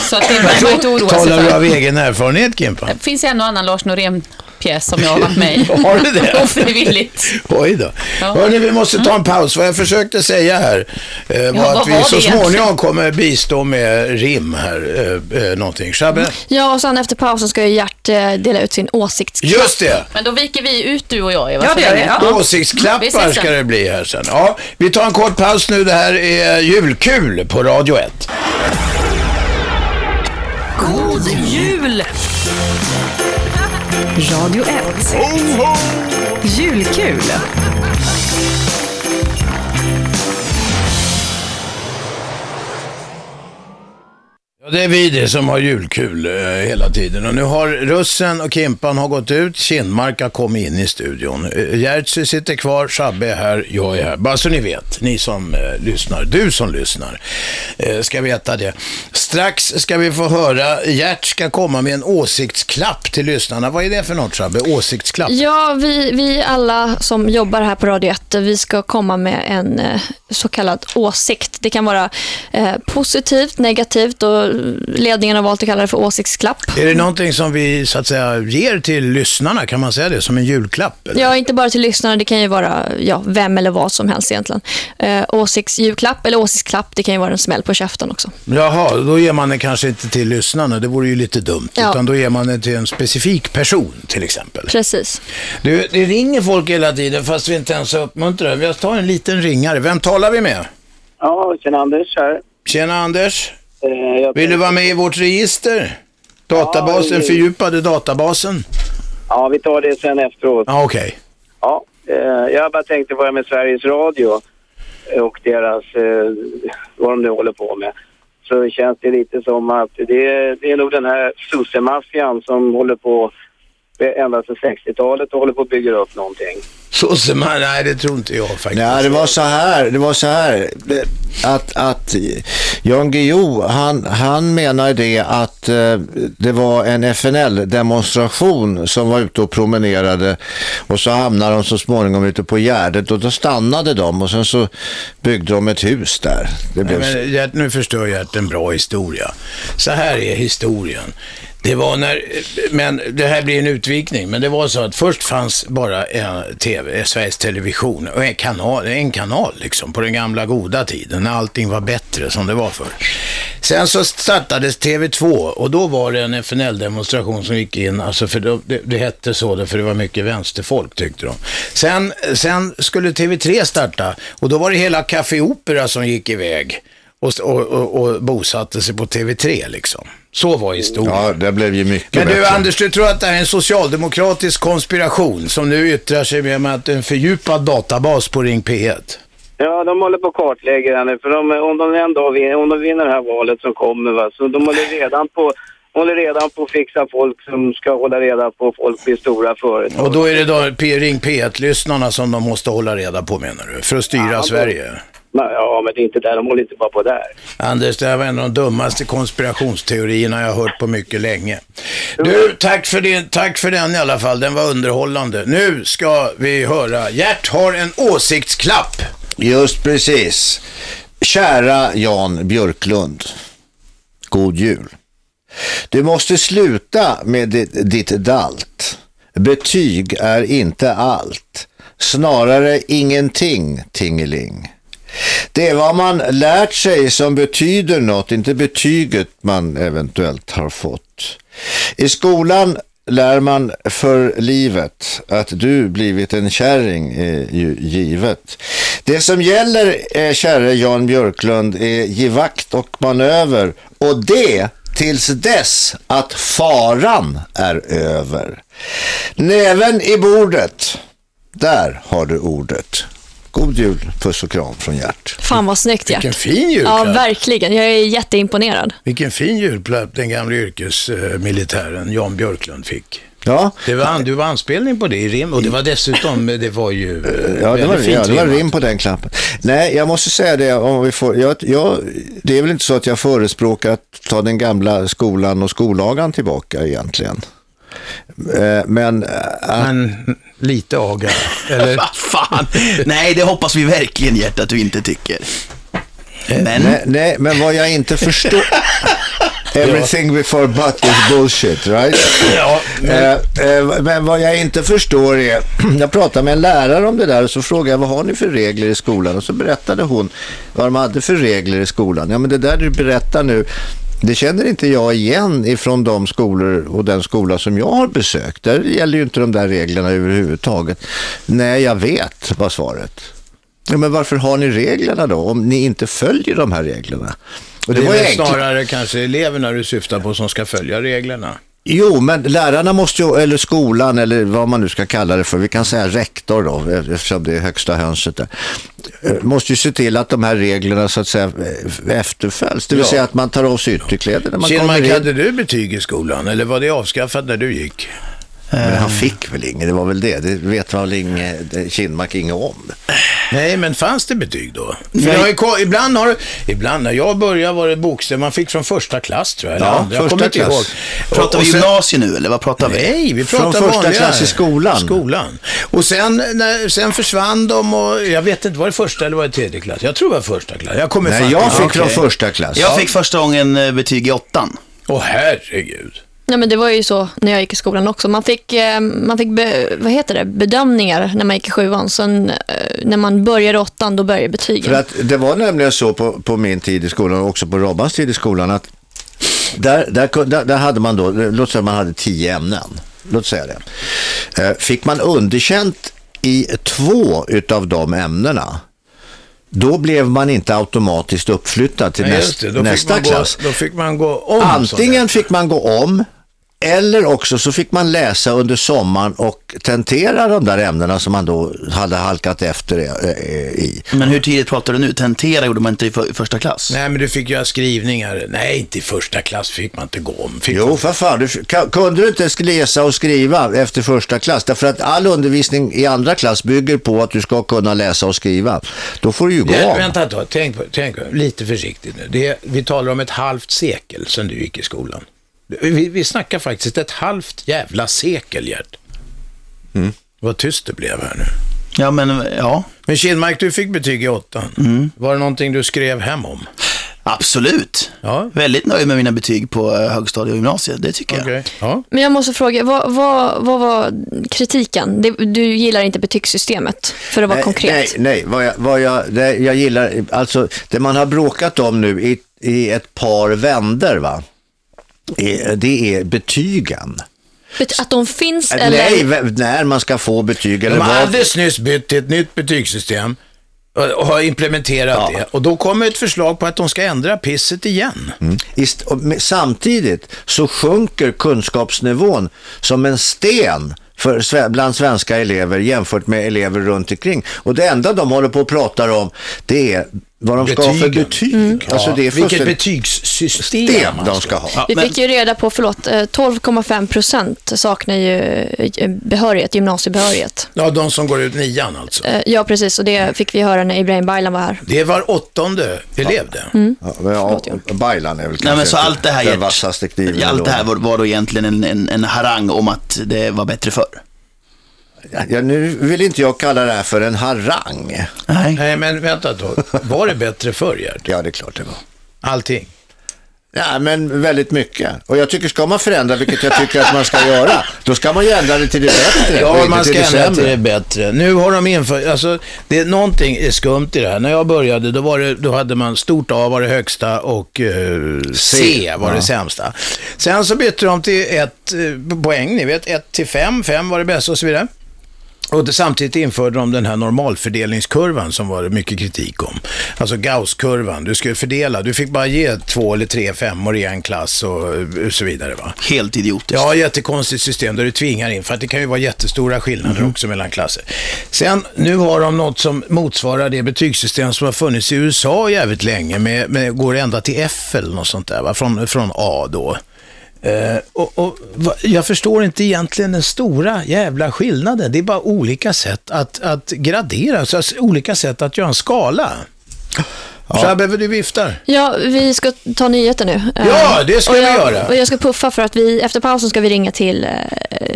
[SPEAKER 4] Så att det behöver man inte oroa sig
[SPEAKER 3] Talar du
[SPEAKER 4] för.
[SPEAKER 3] av egen erfarenhet, Kimpa?
[SPEAKER 4] Det finns en och annan Lars Norén-pjäs som jag har varit med i.
[SPEAKER 3] Har du det?
[SPEAKER 4] Ofrivilligt.
[SPEAKER 3] Oj då.
[SPEAKER 4] Ja.
[SPEAKER 3] Hörni, vi måste ta en paus. Vad jag försökte säga här eh, var
[SPEAKER 4] vad
[SPEAKER 3] att vi
[SPEAKER 4] var
[SPEAKER 3] så
[SPEAKER 4] det egentligen?
[SPEAKER 3] småningom kommer bistå med rim här, eh, eh, någonting.
[SPEAKER 1] Mm.
[SPEAKER 3] Shabbe?
[SPEAKER 2] Ja, och sen efter pausen ska ju Gert eh, dela ut sin åsikts...
[SPEAKER 3] Just det!
[SPEAKER 4] Men då viker vi ut du och jag, Eva.
[SPEAKER 1] Ja,
[SPEAKER 4] så
[SPEAKER 1] det gör
[SPEAKER 4] länge.
[SPEAKER 1] vi, ja.
[SPEAKER 4] Vi
[SPEAKER 3] Åsiktsklappar
[SPEAKER 4] ses
[SPEAKER 3] ska
[SPEAKER 4] sen.
[SPEAKER 3] det bli här sen. Ja, vi tar en kort paus nu. Det här är Julkul på Radio 1.
[SPEAKER 7] God jul! Radio 1. Julkul.
[SPEAKER 3] Ja, det är vi det som har julkul eh, hela tiden. Och nu har russen och Kimpan har gått ut, Kinmark har kommit in i studion. Eh, Jerzy sitter kvar, Shabbe är här, jag är här. Bara så ni vet, ni som eh, lyssnar, du som lyssnar, eh, ska veta det. Strax ska vi få höra, Gert ska komma med en åsiktsklapp till lyssnarna. Vad är det för något Shabbe? Åsiktsklapp?
[SPEAKER 2] Ja, vi, vi alla som jobbar här på Radio 1, eh, vi ska komma med en eh, så kallad åsikt. Det kan vara eh, positivt, negativt och ledningen har valt att kalla det för åsiktsklapp.
[SPEAKER 3] Är det någonting som vi så att säga ger till lyssnarna, kan man säga det, som en julklapp? eller?
[SPEAKER 2] Ja, inte bara till lyssnarna. Det kan ju vara ja, vem eller vad som helst egentligen. Eh, åsiktsjulklapp eller åsiktsklapp, det kan ju vara en smäll på käften också.
[SPEAKER 3] Jaha, då ger man den kanske inte till lyssnarna, det vore ju lite dumt.
[SPEAKER 2] Ja.
[SPEAKER 3] Utan då ger man den till en specifik person till exempel.
[SPEAKER 2] Precis.
[SPEAKER 3] Du, det ringer folk hela tiden fast vi inte ens uppmuntrar dem. Jag tar en liten ringare. Vem talar vi med?
[SPEAKER 8] Ja, tjena Anders här.
[SPEAKER 3] Tjena Anders,
[SPEAKER 8] Eh, jag
[SPEAKER 3] vill du
[SPEAKER 8] tänkte-
[SPEAKER 3] vara med i vårt register? Databasen,
[SPEAKER 8] Ja, det-
[SPEAKER 3] fördjupade databasen?
[SPEAKER 8] Ja, vi tar det sen efteråt.
[SPEAKER 3] Ja, okej.
[SPEAKER 8] Ja, eh, jag bara tänkte börja med Sveriges Radio eh, och deras, eh, vad de nu håller på med. Så känns det lite som att det är, det är nog den här sossemaffian som håller på ända sedan 60-talet och håller på att bygga upp någonting.
[SPEAKER 3] Så ser man, nej det tror inte jag faktiskt.
[SPEAKER 5] Nej, det var så här. Det var så här att, att Jan Guillou, han, han menar det att eh, det var en FNL-demonstration som var ute och promenerade och så hamnade de så småningom ute på Gärdet och då stannade de och sen så byggde de ett hus där. Det blev
[SPEAKER 3] Nej,
[SPEAKER 5] så.
[SPEAKER 3] men Gert, nu förstör Gert en bra historia. Så här är historien. Det var när, men det här blir en utvikning, men det var så att först fanns bara eh, en TV, Sveriges Television och en kanal, en kanal liksom, på den gamla goda tiden när allting var bättre som det var förr. Sen så startades TV2 och då var det en FNL-demonstration som gick in, alltså för då, det, det hette så då, för det var mycket vänsterfolk tyckte de. Sen, sen skulle TV3 starta och då var det hela Café Opera som gick iväg. och, och, och, och bosatte sig på TV3 liksom. Så var historien.
[SPEAKER 5] Ja, det blev ju mycket
[SPEAKER 3] Men du
[SPEAKER 5] bättre.
[SPEAKER 3] Anders, du tror att det här är en socialdemokratisk konspiration som nu yttrar sig med att en fördjupad databas på Ring P1?
[SPEAKER 8] Ja, de håller på att kartlägga henne. För de, om, de en dag vinner, om de vinner det här valet som kommer, va, så de håller redan på håller redan på att fixa folk som ska hålla reda på folk i stora företag.
[SPEAKER 3] Och då är det då P- Ring P1-lyssnarna som de måste hålla reda på menar du, för att styra Sverige?
[SPEAKER 8] Men, ja, men det är inte där. De håller inte bara på där.
[SPEAKER 3] Anders, det här var en av de dummaste konspirationsteorierna jag har hört på mycket länge. Du, tack för, din, tack för den i alla fall. Den var underhållande. Nu ska vi höra. Gert har en åsiktsklapp.
[SPEAKER 5] Just precis. Kära Jan Björklund. God jul. Du måste sluta med ditt, ditt dalt. Betyg är inte allt. Snarare ingenting, tingeling. Det är vad man lärt sig som betyder något, inte betyget man eventuellt har fått. I skolan lär man för livet att du blivit en kärring är ju givet. Det som gäller, eh, käre Jan Björklund, är givakt och manöver och det tills dess att faran är över. Näven i bordet, där har du ordet. God jul, puss och kram från Gert.
[SPEAKER 2] Fan vad snyggt Gert.
[SPEAKER 3] Vilken fin
[SPEAKER 2] Ja,
[SPEAKER 3] julklapp.
[SPEAKER 2] verkligen. Jag är jätteimponerad.
[SPEAKER 3] Vilken fin julklapp den gamle yrkesmilitären Jan Björklund fick.
[SPEAKER 5] Ja,
[SPEAKER 3] Det var, an- det var anspelning på det i rim och det var dessutom, det var ju eh,
[SPEAKER 5] Ja, det var,
[SPEAKER 3] väldigt fint
[SPEAKER 5] ja, det var
[SPEAKER 3] rimmat.
[SPEAKER 5] rim på den klappen. Nej, jag måste säga det. Om vi får, jag, jag, det är väl inte så att jag förespråkar att ta den gamla skolan och skollagan tillbaka egentligen. Eh, Men eh,
[SPEAKER 3] Men lite aga, eller?
[SPEAKER 9] Vad fan! Nej, det hoppas vi verkligen Gert att du inte tycker.
[SPEAKER 3] Eh,
[SPEAKER 9] Men...
[SPEAKER 5] Nej, nej, men vad jag inte förstår... Everything before but is bullshit, right?
[SPEAKER 3] Ja,
[SPEAKER 5] men... Eh, men vad jag inte förstår är, jag pratade med en lärare om det där och så frågade jag vad har ni för regler i skolan? Och så berättade hon vad de hade för regler i skolan. Ja, men det där du berättar nu, det känner inte jag igen ifrån de skolor och den skola som jag har besökt. Där gäller ju inte de där reglerna överhuvudtaget. Nej, jag vet, var svaret. Ja, men varför har ni reglerna då, om ni inte följer de här reglerna? Och
[SPEAKER 3] Det,
[SPEAKER 5] det, var ju
[SPEAKER 3] är väl
[SPEAKER 5] enkelt.
[SPEAKER 3] snarare kanske eleverna du syftar på som ska följa reglerna.
[SPEAKER 5] Jo, men lärarna måste ju, eller skolan, eller vad man nu ska kalla det för, vi kan säga rektor då, eftersom det är högsta hönset där, eh, måste ju se till att de här reglerna så att säga eh, efterföljs. Det vill
[SPEAKER 3] Ja.
[SPEAKER 5] säga att man tar av sig ytterkläderna när man
[SPEAKER 3] Kinmark,
[SPEAKER 5] kommer
[SPEAKER 3] hade
[SPEAKER 5] in.
[SPEAKER 3] du betyg i skolan eller var det avskaffat när du gick?
[SPEAKER 5] Men han fick väl inget, det var väl det. Det vet väl inge, det- Kinmark inget om.
[SPEAKER 3] Nej, men fanns det betyg då? För jag har ju ko- ibland har ibland när jag började var det bokstäver man fick från första klass tror jag. eller
[SPEAKER 5] Ja,
[SPEAKER 3] andra. jag
[SPEAKER 5] första
[SPEAKER 3] kommer inte
[SPEAKER 5] klass.
[SPEAKER 3] ihåg.
[SPEAKER 9] Pratar
[SPEAKER 3] Och- och
[SPEAKER 9] vi
[SPEAKER 3] sen-
[SPEAKER 9] gymnasie nu eller vad pratar vi?
[SPEAKER 3] Nej, vi pratar
[SPEAKER 5] Från första
[SPEAKER 3] vanliga-
[SPEAKER 5] klass i skolan.
[SPEAKER 3] Skolan. Och sen, när, sen försvann de och jag vet inte, var det första eller var det tredje klass? Jag tror det var första klass. Jag kommer
[SPEAKER 5] Nej,
[SPEAKER 3] fan
[SPEAKER 5] jag
[SPEAKER 3] inte
[SPEAKER 5] fick
[SPEAKER 3] ihåg.
[SPEAKER 5] från första klass.
[SPEAKER 9] Jag fick första gången eh, betyg i åttan.
[SPEAKER 3] Åh herregud.
[SPEAKER 2] Nej, men det var ju så när jag gick i skolan också. Man fick, eh, man fick be, vad heter det? bedömningar när man gick i sjuan. Sen eh, när man började åttan, då började betygen.
[SPEAKER 5] För att det var nämligen så på, på min tid i skolan och också på Robbans tid i skolan att där, där, kun- där, där hade man då, låt säga man hade tio ämnen. Låt säga det. Eh, Fick man underkänt i två utav de ämnena, då blev man inte automatiskt uppflyttad till
[SPEAKER 3] Nej, just
[SPEAKER 5] näst,
[SPEAKER 3] det. Då
[SPEAKER 5] nästa
[SPEAKER 3] fick man
[SPEAKER 5] klass.
[SPEAKER 3] Gå, då fick man gå om. sådär.
[SPEAKER 5] Antingen fick man gå om, eller också så fick man läsa under sommaren och tentera de där ämnena som man då hade halkat efter eh, eh, i.
[SPEAKER 9] Men hur tidigt pratar du nu? Tentera gjorde man inte i för, första klass.
[SPEAKER 3] Nej, men du fick göra skrivningar. Nej, inte i första klass fick man inte gå om. Fick
[SPEAKER 5] Jo,
[SPEAKER 3] man...
[SPEAKER 5] för fan. Du, ka- kunde du inte ens läsa och skriva efter första klass? Därför att all undervisning i andra klass bygger på att du ska kunna läsa och skriva. Då får du ju gå
[SPEAKER 3] Ja,
[SPEAKER 5] om.
[SPEAKER 3] vänta ett tag. tänk, på, tänk på, lite försiktigt nu. Det, är- vi talar om ett halvt sekel sedan du gick i skolan. Vi, vi snackar faktiskt ett halvt jävla sekel, Gerd.
[SPEAKER 5] Mm.
[SPEAKER 3] Vad tyst det blev här nu.
[SPEAKER 9] Ja, men ja.
[SPEAKER 3] Men Kinnmark, du fick betyg i åttan.
[SPEAKER 9] Mm.
[SPEAKER 3] Var det någonting du skrev hem om?
[SPEAKER 9] Absolut.
[SPEAKER 3] Ja.
[SPEAKER 9] Väldigt nöjd med mina betyg på eh, högstadie och gymnasiet, det tycker jag.
[SPEAKER 3] Okej. Ja.
[SPEAKER 2] Men jag måste fråga, vad, vad, vad var kritiken? Det, du gillar inte betygssystemet, för att vara
[SPEAKER 5] Nej,
[SPEAKER 2] konkret.
[SPEAKER 5] Nej, nej vad jag, vad jag, det, jag gillar, alltså det man har bråkat om nu i, i ett par vänder va, Eh, det är betygen.
[SPEAKER 2] Bet- Att de finns eller?
[SPEAKER 5] Nej, vä- när man ska få betyg eller
[SPEAKER 3] De har
[SPEAKER 5] vad.
[SPEAKER 3] alldeles nyss bytt till ett nytt betygssystem. och har implementerat det. Och då kommer ett förslag på att de ska ändra pisset igen.
[SPEAKER 5] Mm. Ist- och med- Samtidigt så sjunker kunskapsnivån som en sten för, sve- bland svenska elever jämfört med elever runt omkring. Och det enda de håller på och pratar om det är vad de ska ha för
[SPEAKER 3] Betygen. Mm.
[SPEAKER 5] betyg.
[SPEAKER 3] Ja,
[SPEAKER 5] Alltså det är
[SPEAKER 3] vilket
[SPEAKER 5] fullständigt-
[SPEAKER 3] betygssystem
[SPEAKER 5] System
[SPEAKER 3] man
[SPEAKER 5] de ska ha.
[SPEAKER 3] Ja,
[SPEAKER 2] Vi
[SPEAKER 3] men-
[SPEAKER 2] fick ju reda på, förlåt, eh, 12,5 procent saknar ju eh, behörighet, gymnasiebehörighet.
[SPEAKER 3] Ja, de som går ut nian alltså.
[SPEAKER 2] Eh, Ja, precis. Och det fick vi höra när Ibrahim Baylan var här.
[SPEAKER 3] Det var åttonde elev det.
[SPEAKER 5] Ja, men ja, Baylan är väl
[SPEAKER 9] Nej,
[SPEAKER 5] kanske
[SPEAKER 9] men så
[SPEAKER 5] inte
[SPEAKER 9] allt det här,
[SPEAKER 5] den
[SPEAKER 9] Gert,
[SPEAKER 5] vassaste kniven.
[SPEAKER 9] allt det här
[SPEAKER 5] ändå.
[SPEAKER 9] var, var då egentligen en, en, en harang om att det var bättre förr.
[SPEAKER 5] ja, nu vill inte jag kalla det här för en harang.
[SPEAKER 9] Nej.
[SPEAKER 3] Nej, men vänta då. Var det bättre förr, Gert?
[SPEAKER 5] Ja, det är klart det var.
[SPEAKER 3] Allting.
[SPEAKER 5] Ja, men väldigt mycket. Och jag tycker, ska man förändra, vilket jag tycker att man ska göra, då ska man ju ändra det till det bättre och
[SPEAKER 3] Ja,
[SPEAKER 5] inte
[SPEAKER 3] man
[SPEAKER 5] till
[SPEAKER 3] ska
[SPEAKER 5] det
[SPEAKER 3] ändra till
[SPEAKER 5] sämre.
[SPEAKER 3] det bättre. Nu har de infört, alltså, det är någonting är skumt i det här. När jag började, då, var det, då hade man stort A var det högsta och eh, C var det sämsta. Sen så bytte de till ett eh, poäng, ni vet, 1 till 5, 5 var det bästa och så vidare. Och det- samtidigt införde de den här normalfördelningskurvan som var det mycket kritik om. Alltså Gauss-kurvan, du skulle fördela, du fick bara ge två eller tre femmor i en klass och eh, så vidare. Va?
[SPEAKER 9] Helt idiotiskt.
[SPEAKER 3] Ja, jättekonstigt system där du tvingar in, för att det kan ju vara jättestora skillnader
[SPEAKER 9] Mm.
[SPEAKER 3] också mellan klasser. Sen, nu har de något som motsvarar det betygssystem som har funnits i USA jävligt länge, med, med, går ända till F eller något sånt där, va? Från, från A då. Eh, och, och, va, jag förstår inte egentligen den stora jävla skillnaden. Det är bara olika sätt att, att gradera, så alltså, olika sätt att göra en skala. Så här behöver du viftar.
[SPEAKER 2] Ja, vi ska ta nyheter nu. Eh,
[SPEAKER 3] Ja, det ska
[SPEAKER 2] och
[SPEAKER 3] vi
[SPEAKER 2] jag,
[SPEAKER 3] göra.
[SPEAKER 2] Och jag ska puffa för att vi, efter pausen ska vi ringa till eh,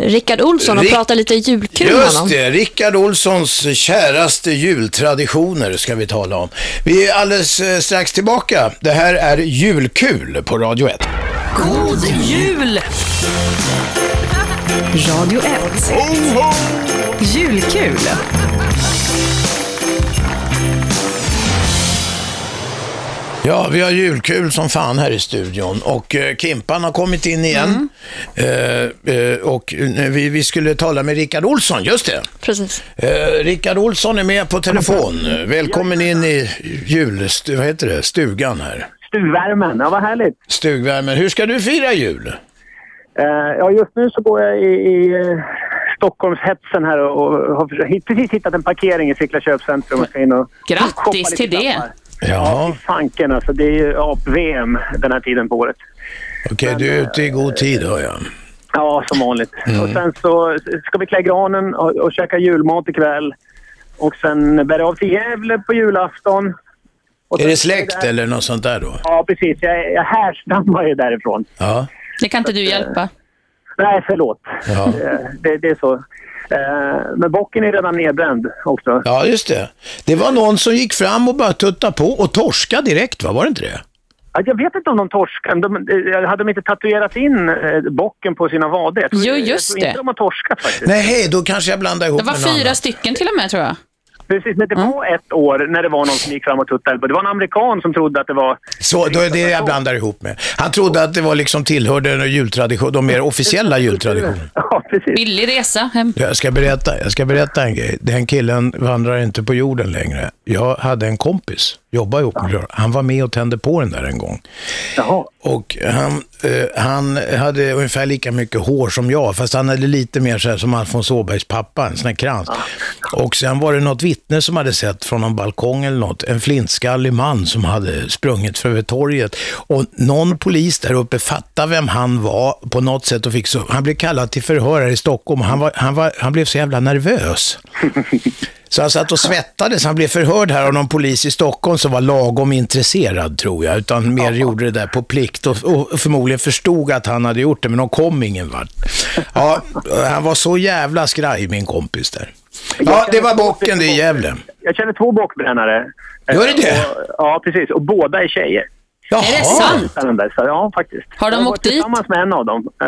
[SPEAKER 2] Rickard Olsson och
[SPEAKER 3] Rick-
[SPEAKER 2] prata lite julkul med
[SPEAKER 3] Just
[SPEAKER 2] honom.
[SPEAKER 3] det, Rickard Olssons käraste jultraditioner ska vi tala om. Vi är alldeles eh, strax tillbaka. Det här är Julkul på Radio 1.
[SPEAKER 7] God jul! Radio 1. Julkul.
[SPEAKER 3] Ja, vi har julkul som fan här i studion och eh, Kimpan har kommit in igen. Eh, eh, och eh, vi, vi skulle tala med Rickard Olsson, just det.
[SPEAKER 2] Precis.
[SPEAKER 3] Eh, Rickard Olsson är med på telefon. Välkommen in i julstu- vad heter det? stugan här.
[SPEAKER 10] Stugvärmen, ja vad härligt.
[SPEAKER 3] Stugvärmen. Hur ska du fira jul?
[SPEAKER 10] Eh, ja, just nu så går jag i, i eh, Stockholmshetsen här och, och har förs- hit- precis hittat en parkering i Sickla köpcentrum och ska in och
[SPEAKER 4] Grattis
[SPEAKER 10] shoppa lite
[SPEAKER 4] till det.
[SPEAKER 10] klappar.
[SPEAKER 3] Ja,
[SPEAKER 10] Fanken alltså, det är ju ap-VM den här tiden på året.
[SPEAKER 3] okej, du är ute i god tid hör jag. Mm.
[SPEAKER 10] Ja, som vanligt. Och sen så ska vi klä granen och, och käka julmat ikväll. Och sen bär jag av till Gävle på julafton. Och
[SPEAKER 3] Är
[SPEAKER 10] sen-
[SPEAKER 3] det släkt eller något sånt där då?
[SPEAKER 10] Ja, precis. Jag, jag härstammar ju därifrån. Eh,
[SPEAKER 3] Ja.
[SPEAKER 4] Det kan inte du hjälpa.
[SPEAKER 10] Nej, förlåt.
[SPEAKER 3] Ja.
[SPEAKER 10] Eh, Det, det är så. Eh, Men bocken är redan nedbränd också.
[SPEAKER 3] ja, just det. Det var någon som gick fram och bara tutta på och torska direkt, va? Var det inte det?
[SPEAKER 10] Ja, Jag vet inte om de torskade. De, eh, hade de inte tatuerat in eh, bocken på sina vader? Jag tror-
[SPEAKER 4] Jo,
[SPEAKER 10] jag
[SPEAKER 4] just
[SPEAKER 10] tror inte
[SPEAKER 4] det.
[SPEAKER 10] de har torskat faktiskt.
[SPEAKER 3] Nej, hej, då kanske jag blandar ihop
[SPEAKER 4] Det var
[SPEAKER 3] med någon
[SPEAKER 4] fyra Mm.
[SPEAKER 3] annan.
[SPEAKER 4] stycken till och med tror jag.
[SPEAKER 10] Precis, men det var ett år när det var någon som gick fram och tuttade på. Det var en amerikan som trodde att det var...
[SPEAKER 3] Så, då är det jag blandar ihop med. Han trodde att det var liksom tillhörde en jultradition, de mer officiella jultraditionerna.
[SPEAKER 10] Ja, precis.
[SPEAKER 4] Billig resa hem.
[SPEAKER 3] Jag ska berätta, jag ska berätta en grej. Den killen vandrar inte på jorden längre. Jag hade en kompis, jobbade ihop med Han var med och tände på den där en gång.
[SPEAKER 10] Jaha.
[SPEAKER 3] Och han, eh, han hade ungefär lika mycket hår som jag, fast han hade lite mer så här som Alfons Åbergs pappa, en sån här krans. Och sen var det något vittne som hade sett från någon balkong eller något, en flintskallig man som hade sprungit för över torget. Och någon polis där uppe fattade vem han var på något sätt och fick så, han blev kallad till förhör här i Stockholm. Han, var, han, var, han blev så jävla nervös. Så han satt och svettades. Han blev förhörd här av någon polis i Stockholm som var lagom intresserad, tror jag. Utan mer gjorde det där på plikt och, och förmodligen förstod att han hade gjort det, men de kom ingen vart. Ja, han var så jävla skraj, min kompis där. Ja, det var bocken det i Gävle.
[SPEAKER 10] Jag känner två bockbrännare.
[SPEAKER 3] Gör det det?
[SPEAKER 10] Och, ja, precis. Och båda är tjejer.
[SPEAKER 3] Jaha.
[SPEAKER 4] Är det sant?
[SPEAKER 10] Den där, så, ja, faktiskt.
[SPEAKER 4] Har de
[SPEAKER 10] Jag var
[SPEAKER 4] åkt dit?
[SPEAKER 10] tillsammans med en av dem. eh,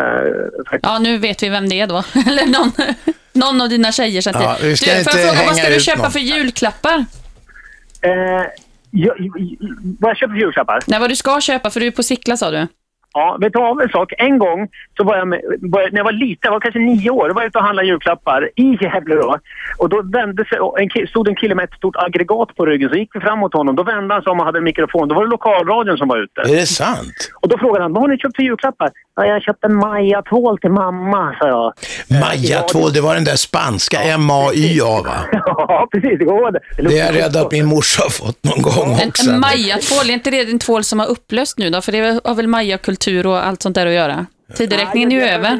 [SPEAKER 10] faktiskt.
[SPEAKER 4] Ja, nu vet vi vem det är då. Eller någon, någon av dina tjejer. Så att
[SPEAKER 3] Ja, vi ska
[SPEAKER 4] du,
[SPEAKER 3] inte
[SPEAKER 4] får jag fråga,
[SPEAKER 3] hänga
[SPEAKER 4] vad ska du
[SPEAKER 3] ut
[SPEAKER 4] köpa
[SPEAKER 3] någon.
[SPEAKER 4] för julklappar?
[SPEAKER 10] Eh, jag, jag, vad jag köper för julklappar?
[SPEAKER 4] Nej, vad du ska köpa, för du är på Sickla sa du.
[SPEAKER 10] Ja, vet du vad en sak? En gång, så var jag med, började, när jag var liten, jag var kanske nio år, då var jag ute och handlade julklappar i Gävle då. Och då vände sig, och en, ki- stod en kille med ett stort aggregat på ryggen, så gick vi fram mot honom. Då vände han sig om och hade en mikrofon. Då var det lokalradion som var ute.
[SPEAKER 3] Är det sant?
[SPEAKER 10] Och då frågade han, vad har ni köpt för julklappar? Ja, jag köpte en Maja-tvål till mamma, sa jag.
[SPEAKER 3] Maja 2, det var den där spanska M-A-Y-A va?
[SPEAKER 10] Ja, precis.
[SPEAKER 3] Mm,
[SPEAKER 10] Det går det.
[SPEAKER 3] Det är jag rädd att min morsa har fått någon gång också.
[SPEAKER 4] En Maja-tvål, är inte det en tvål som har upplöst nu då? För det har väl Maja-kultur och allt sånt där att göra? Tideräkningen är ju över.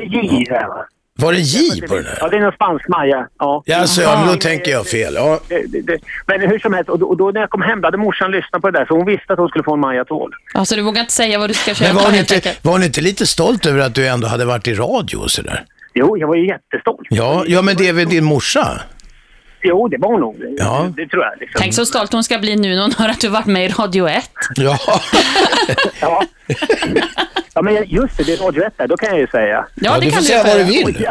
[SPEAKER 3] Var det J på den där?
[SPEAKER 10] Ja, det är någon spansk Maja. Ja.
[SPEAKER 3] Ja, så, ja, men då tänker jag fel. Ja.
[SPEAKER 10] Det- det- det- Men hur som helst, och då, och då när jag kom hem då hade morsan lyssnat på det där, så hon visste att hon skulle få en Maja-tvål.
[SPEAKER 4] Alltså du vågar inte säga vad du ska köpa
[SPEAKER 3] Men var hon,
[SPEAKER 4] helt
[SPEAKER 3] inte,
[SPEAKER 4] enkelt.
[SPEAKER 3] var hon inte lite stolt över att du ändå hade varit i radio och sådär?
[SPEAKER 10] Jo, jag var ju jättestolt.
[SPEAKER 3] Ja, ja men det är väl din morsa?
[SPEAKER 10] Jo, det var hon nog.
[SPEAKER 3] Ja.
[SPEAKER 10] Det tror jag. Liksom.
[SPEAKER 4] Tänk så stolt hon ska bli nu när hon hör att du varit med i Radio 1.
[SPEAKER 3] Ja.
[SPEAKER 10] Ja, men jag- just det, det är Radio 1 där, då kan jag ju säga.
[SPEAKER 4] Ja, det du kan får du säga
[SPEAKER 3] vad du vill.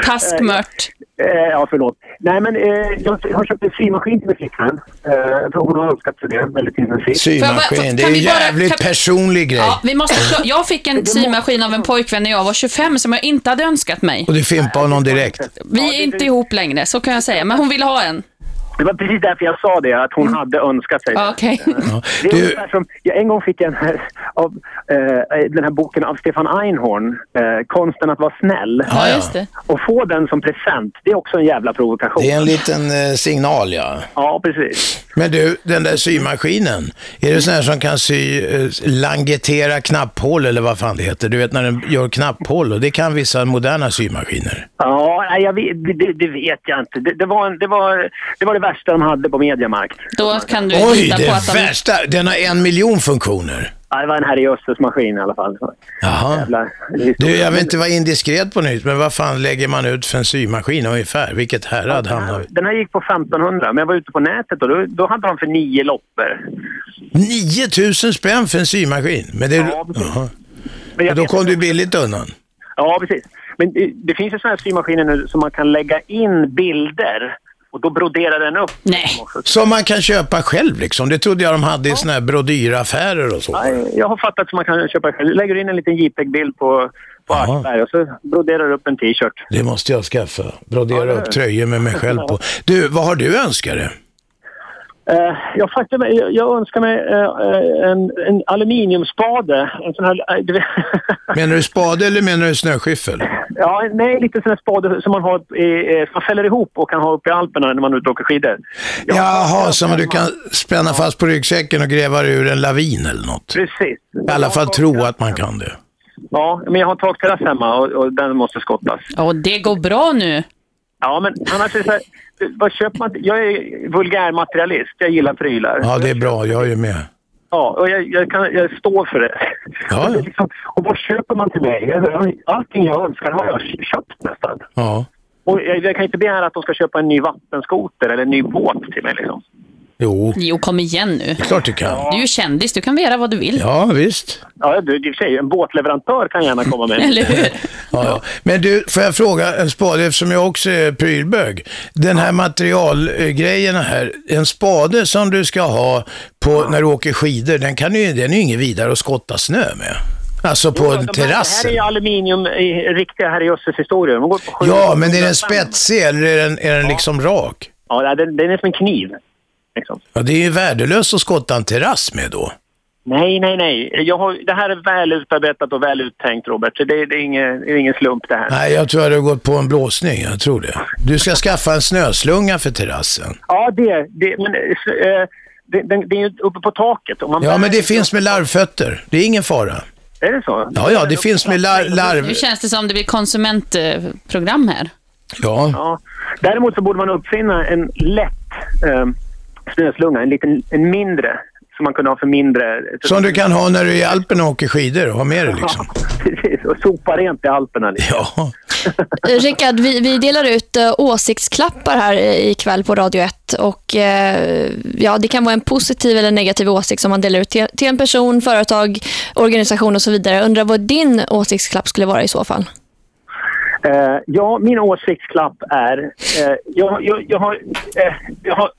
[SPEAKER 4] Taskmört.
[SPEAKER 10] Eh, Ja, förlåt. Nej, men eh, jag har köpt en symaskin till min flickvän. Eh, för hon har önskat sig det väldigt intensivt.
[SPEAKER 4] Får jag bara-
[SPEAKER 3] Symaskin, det är
[SPEAKER 4] kan
[SPEAKER 3] ju
[SPEAKER 4] vi bara-
[SPEAKER 3] jävligt
[SPEAKER 4] kan-
[SPEAKER 3] personlig grej.
[SPEAKER 4] Ja, vi måste, kla- jag fick en symaskin av en pojkvän när jag var 25 som jag inte hade önskat mig.
[SPEAKER 3] Och du fimpade honom direkt.
[SPEAKER 4] Vi är inte ihop längre, så kan jag säga. Men hon ville ha en.
[SPEAKER 10] Det var precis därför jag sa det, att hon hade önskat sig det.
[SPEAKER 4] Mm. Okej.
[SPEAKER 10] Det är ungefär som, jag en gång fick jag en här, av, eh, den här boken av Stefan Einhorn, eh, Konsten att vara snäll.
[SPEAKER 4] Ja, just det.
[SPEAKER 10] Och få den som present, det är också en jävla provokation.
[SPEAKER 3] Det är en liten eh, signal ja.
[SPEAKER 10] Ja, precis.
[SPEAKER 3] Men du, den där symaskinen, är det sån här som kan sy, eh, langettera knapphål eller vad fan det heter? Du vet när den gör knapphål och det kan vissa moderna symaskiner.
[SPEAKER 10] Ja, nej, jag vet, det- det, det vet jag inte. Det, det, var en, det, var, det var det värsta de hade på Mediamarkt.
[SPEAKER 4] Då kan du
[SPEAKER 3] Oj,
[SPEAKER 4] lita
[SPEAKER 3] det
[SPEAKER 4] på att de...
[SPEAKER 3] värsta! Den har en miljon funktioner.
[SPEAKER 10] Ja, det var en herre i Östers maskin i alla fall.
[SPEAKER 3] Jaha.
[SPEAKER 10] Jävla,
[SPEAKER 3] Du, jag vill inte vara indiskret på nytt, men vad fan lägger man ut för en symaskin ungefär? Vilket härad hamnar vi
[SPEAKER 10] Den här gick på 1500, men jag var ute på nätet och då, då hade de för nio loppor.
[SPEAKER 3] 9000 spänn för en symaskin? Men det...
[SPEAKER 10] Ja, precis.
[SPEAKER 3] Jaha.
[SPEAKER 10] Men jag
[SPEAKER 3] Då
[SPEAKER 10] vet
[SPEAKER 3] kom
[SPEAKER 10] inte-
[SPEAKER 3] du billigt undan.
[SPEAKER 10] Ja, precis. Men det, det finns ju sådana här symaskiner nu som man kan lägga in bilder och då broderar den upp.
[SPEAKER 4] Nej.
[SPEAKER 3] Som man kan köpa själv liksom. Det trodde jag de hade i såna här brodyraffärer och så.
[SPEAKER 10] Jag har fattat att man kan köpa själv. Lägger in en liten JPEG-bild på, på Axberg och så broderar du upp en t-shirt.
[SPEAKER 3] Det måste jag skaffa. Brodera
[SPEAKER 10] Ja, det-
[SPEAKER 3] upp tröjor med mig själv på. Du, vad har du önskat dig?
[SPEAKER 10] Eh, jag, faktum, är- jag, jag önskar mig eh, en, en aluminiumspade. En sån här, eh, du vet,
[SPEAKER 3] Menar du spade eller menar du snöskyffel?
[SPEAKER 10] ja, nej, lite sån här spade som man, har i, eh, som man fäller ihop och kan ha uppe i Alperna när man är ute och åker skidor.
[SPEAKER 3] Jaha, som du kan spänna fast på ryggsäcken och gräva ur en lavin eller något.
[SPEAKER 10] Precis.
[SPEAKER 3] I alla fall tro att man kan det.
[SPEAKER 10] Ja, men jag har en takterrass hemma och, och den måste skottas.
[SPEAKER 4] Ja, det går bra nu.
[SPEAKER 10] Ja, men annars är det så här, vad köper man? Jag är vulgärmaterialist, jag gillar prylar.
[SPEAKER 3] Ja, det är bra. Jag är ju med.
[SPEAKER 10] Ja, och jag, jag, kan, jag står för det.
[SPEAKER 3] Ja,
[SPEAKER 10] Det är Liksom, och vad köper man till mig? Jag- Allting jag önskar har jag köpt nästan.
[SPEAKER 3] Ja.
[SPEAKER 10] Och jag, jag kan inte begära att de ska köpa en ny vattenskoter eller en ny båt till mig. Liksom.
[SPEAKER 3] Jo,
[SPEAKER 4] Jo, kom igen nu.
[SPEAKER 3] klart du kan.
[SPEAKER 4] Du är ju kändis, du kan göra vad du vill.
[SPEAKER 3] Ja, visst.
[SPEAKER 10] Ja, du, i och för sig, en båtleverantör kan gärna komma med.
[SPEAKER 4] Eller hur?
[SPEAKER 3] Ja, ja. Men du, får jag fråga en spade, eftersom jag också är prylbög. Den här materialgrejen här, en spade som du ska ha på, när du åker skidor, den, kan ju, den är ju ingen vidare att skotta snö med. Alltså på
[SPEAKER 10] De här- Det
[SPEAKER 3] terrassen.
[SPEAKER 10] här är ju aluminium, i, riktiga herrejösses historier. De går på sju-
[SPEAKER 3] Ja, men är den spetsig eller är den, är den liksom rak?
[SPEAKER 10] Ja, den, den är som en kniv. Liksom.
[SPEAKER 3] Ja, det är ju värdelöst att skotta en terrass med då.
[SPEAKER 10] Nej, nej, nej. Jag har, det här är väl utarbetat och väl uttänkt, Robert. Så det, det, är ingen, det är ingen slump det här.
[SPEAKER 3] Nej, jag tror att du har gått på en blåsning, jag tror det. Du ska skaffa en snöslunga för terrassen.
[SPEAKER 10] Ja, det... det men, eh, det, det, det är ju uppe på taket. Och man
[SPEAKER 3] Ja,
[SPEAKER 10] bär-
[SPEAKER 3] men det finns med larvfötter. Det är ingen fara.
[SPEAKER 10] Är det så?
[SPEAKER 3] Ja, ja, det finns med lar- larv...
[SPEAKER 4] Nu känns det som det blir konsumentprogram här.
[SPEAKER 3] Ja.
[SPEAKER 10] Ja. Däremot så borde man uppfinna en lätt eh, snöslunga, en liten, en mindre, som man kunde ha för mindre...
[SPEAKER 3] Som du kan ha när du är i Alperna och åker skidor och ha med dig liksom.
[SPEAKER 10] Ja, precis. Och sopa rent i Alperna. Liksom.
[SPEAKER 3] Ja,
[SPEAKER 2] Eh, Rickard, vi, vi delar ut eh, åsiktsklappar här eh, ikväll på Radio 1. Och, eh, ja, det kan vara en positiv eller negativ åsikt som man delar ut till, till en person, företag, organisation och så vidare. Jag Undrar vad din åsiktsklapp skulle vara i så fall?
[SPEAKER 10] Eh, ja, min åsiktsklapp är... Eh, jag, jag, jag har... Eh, jag har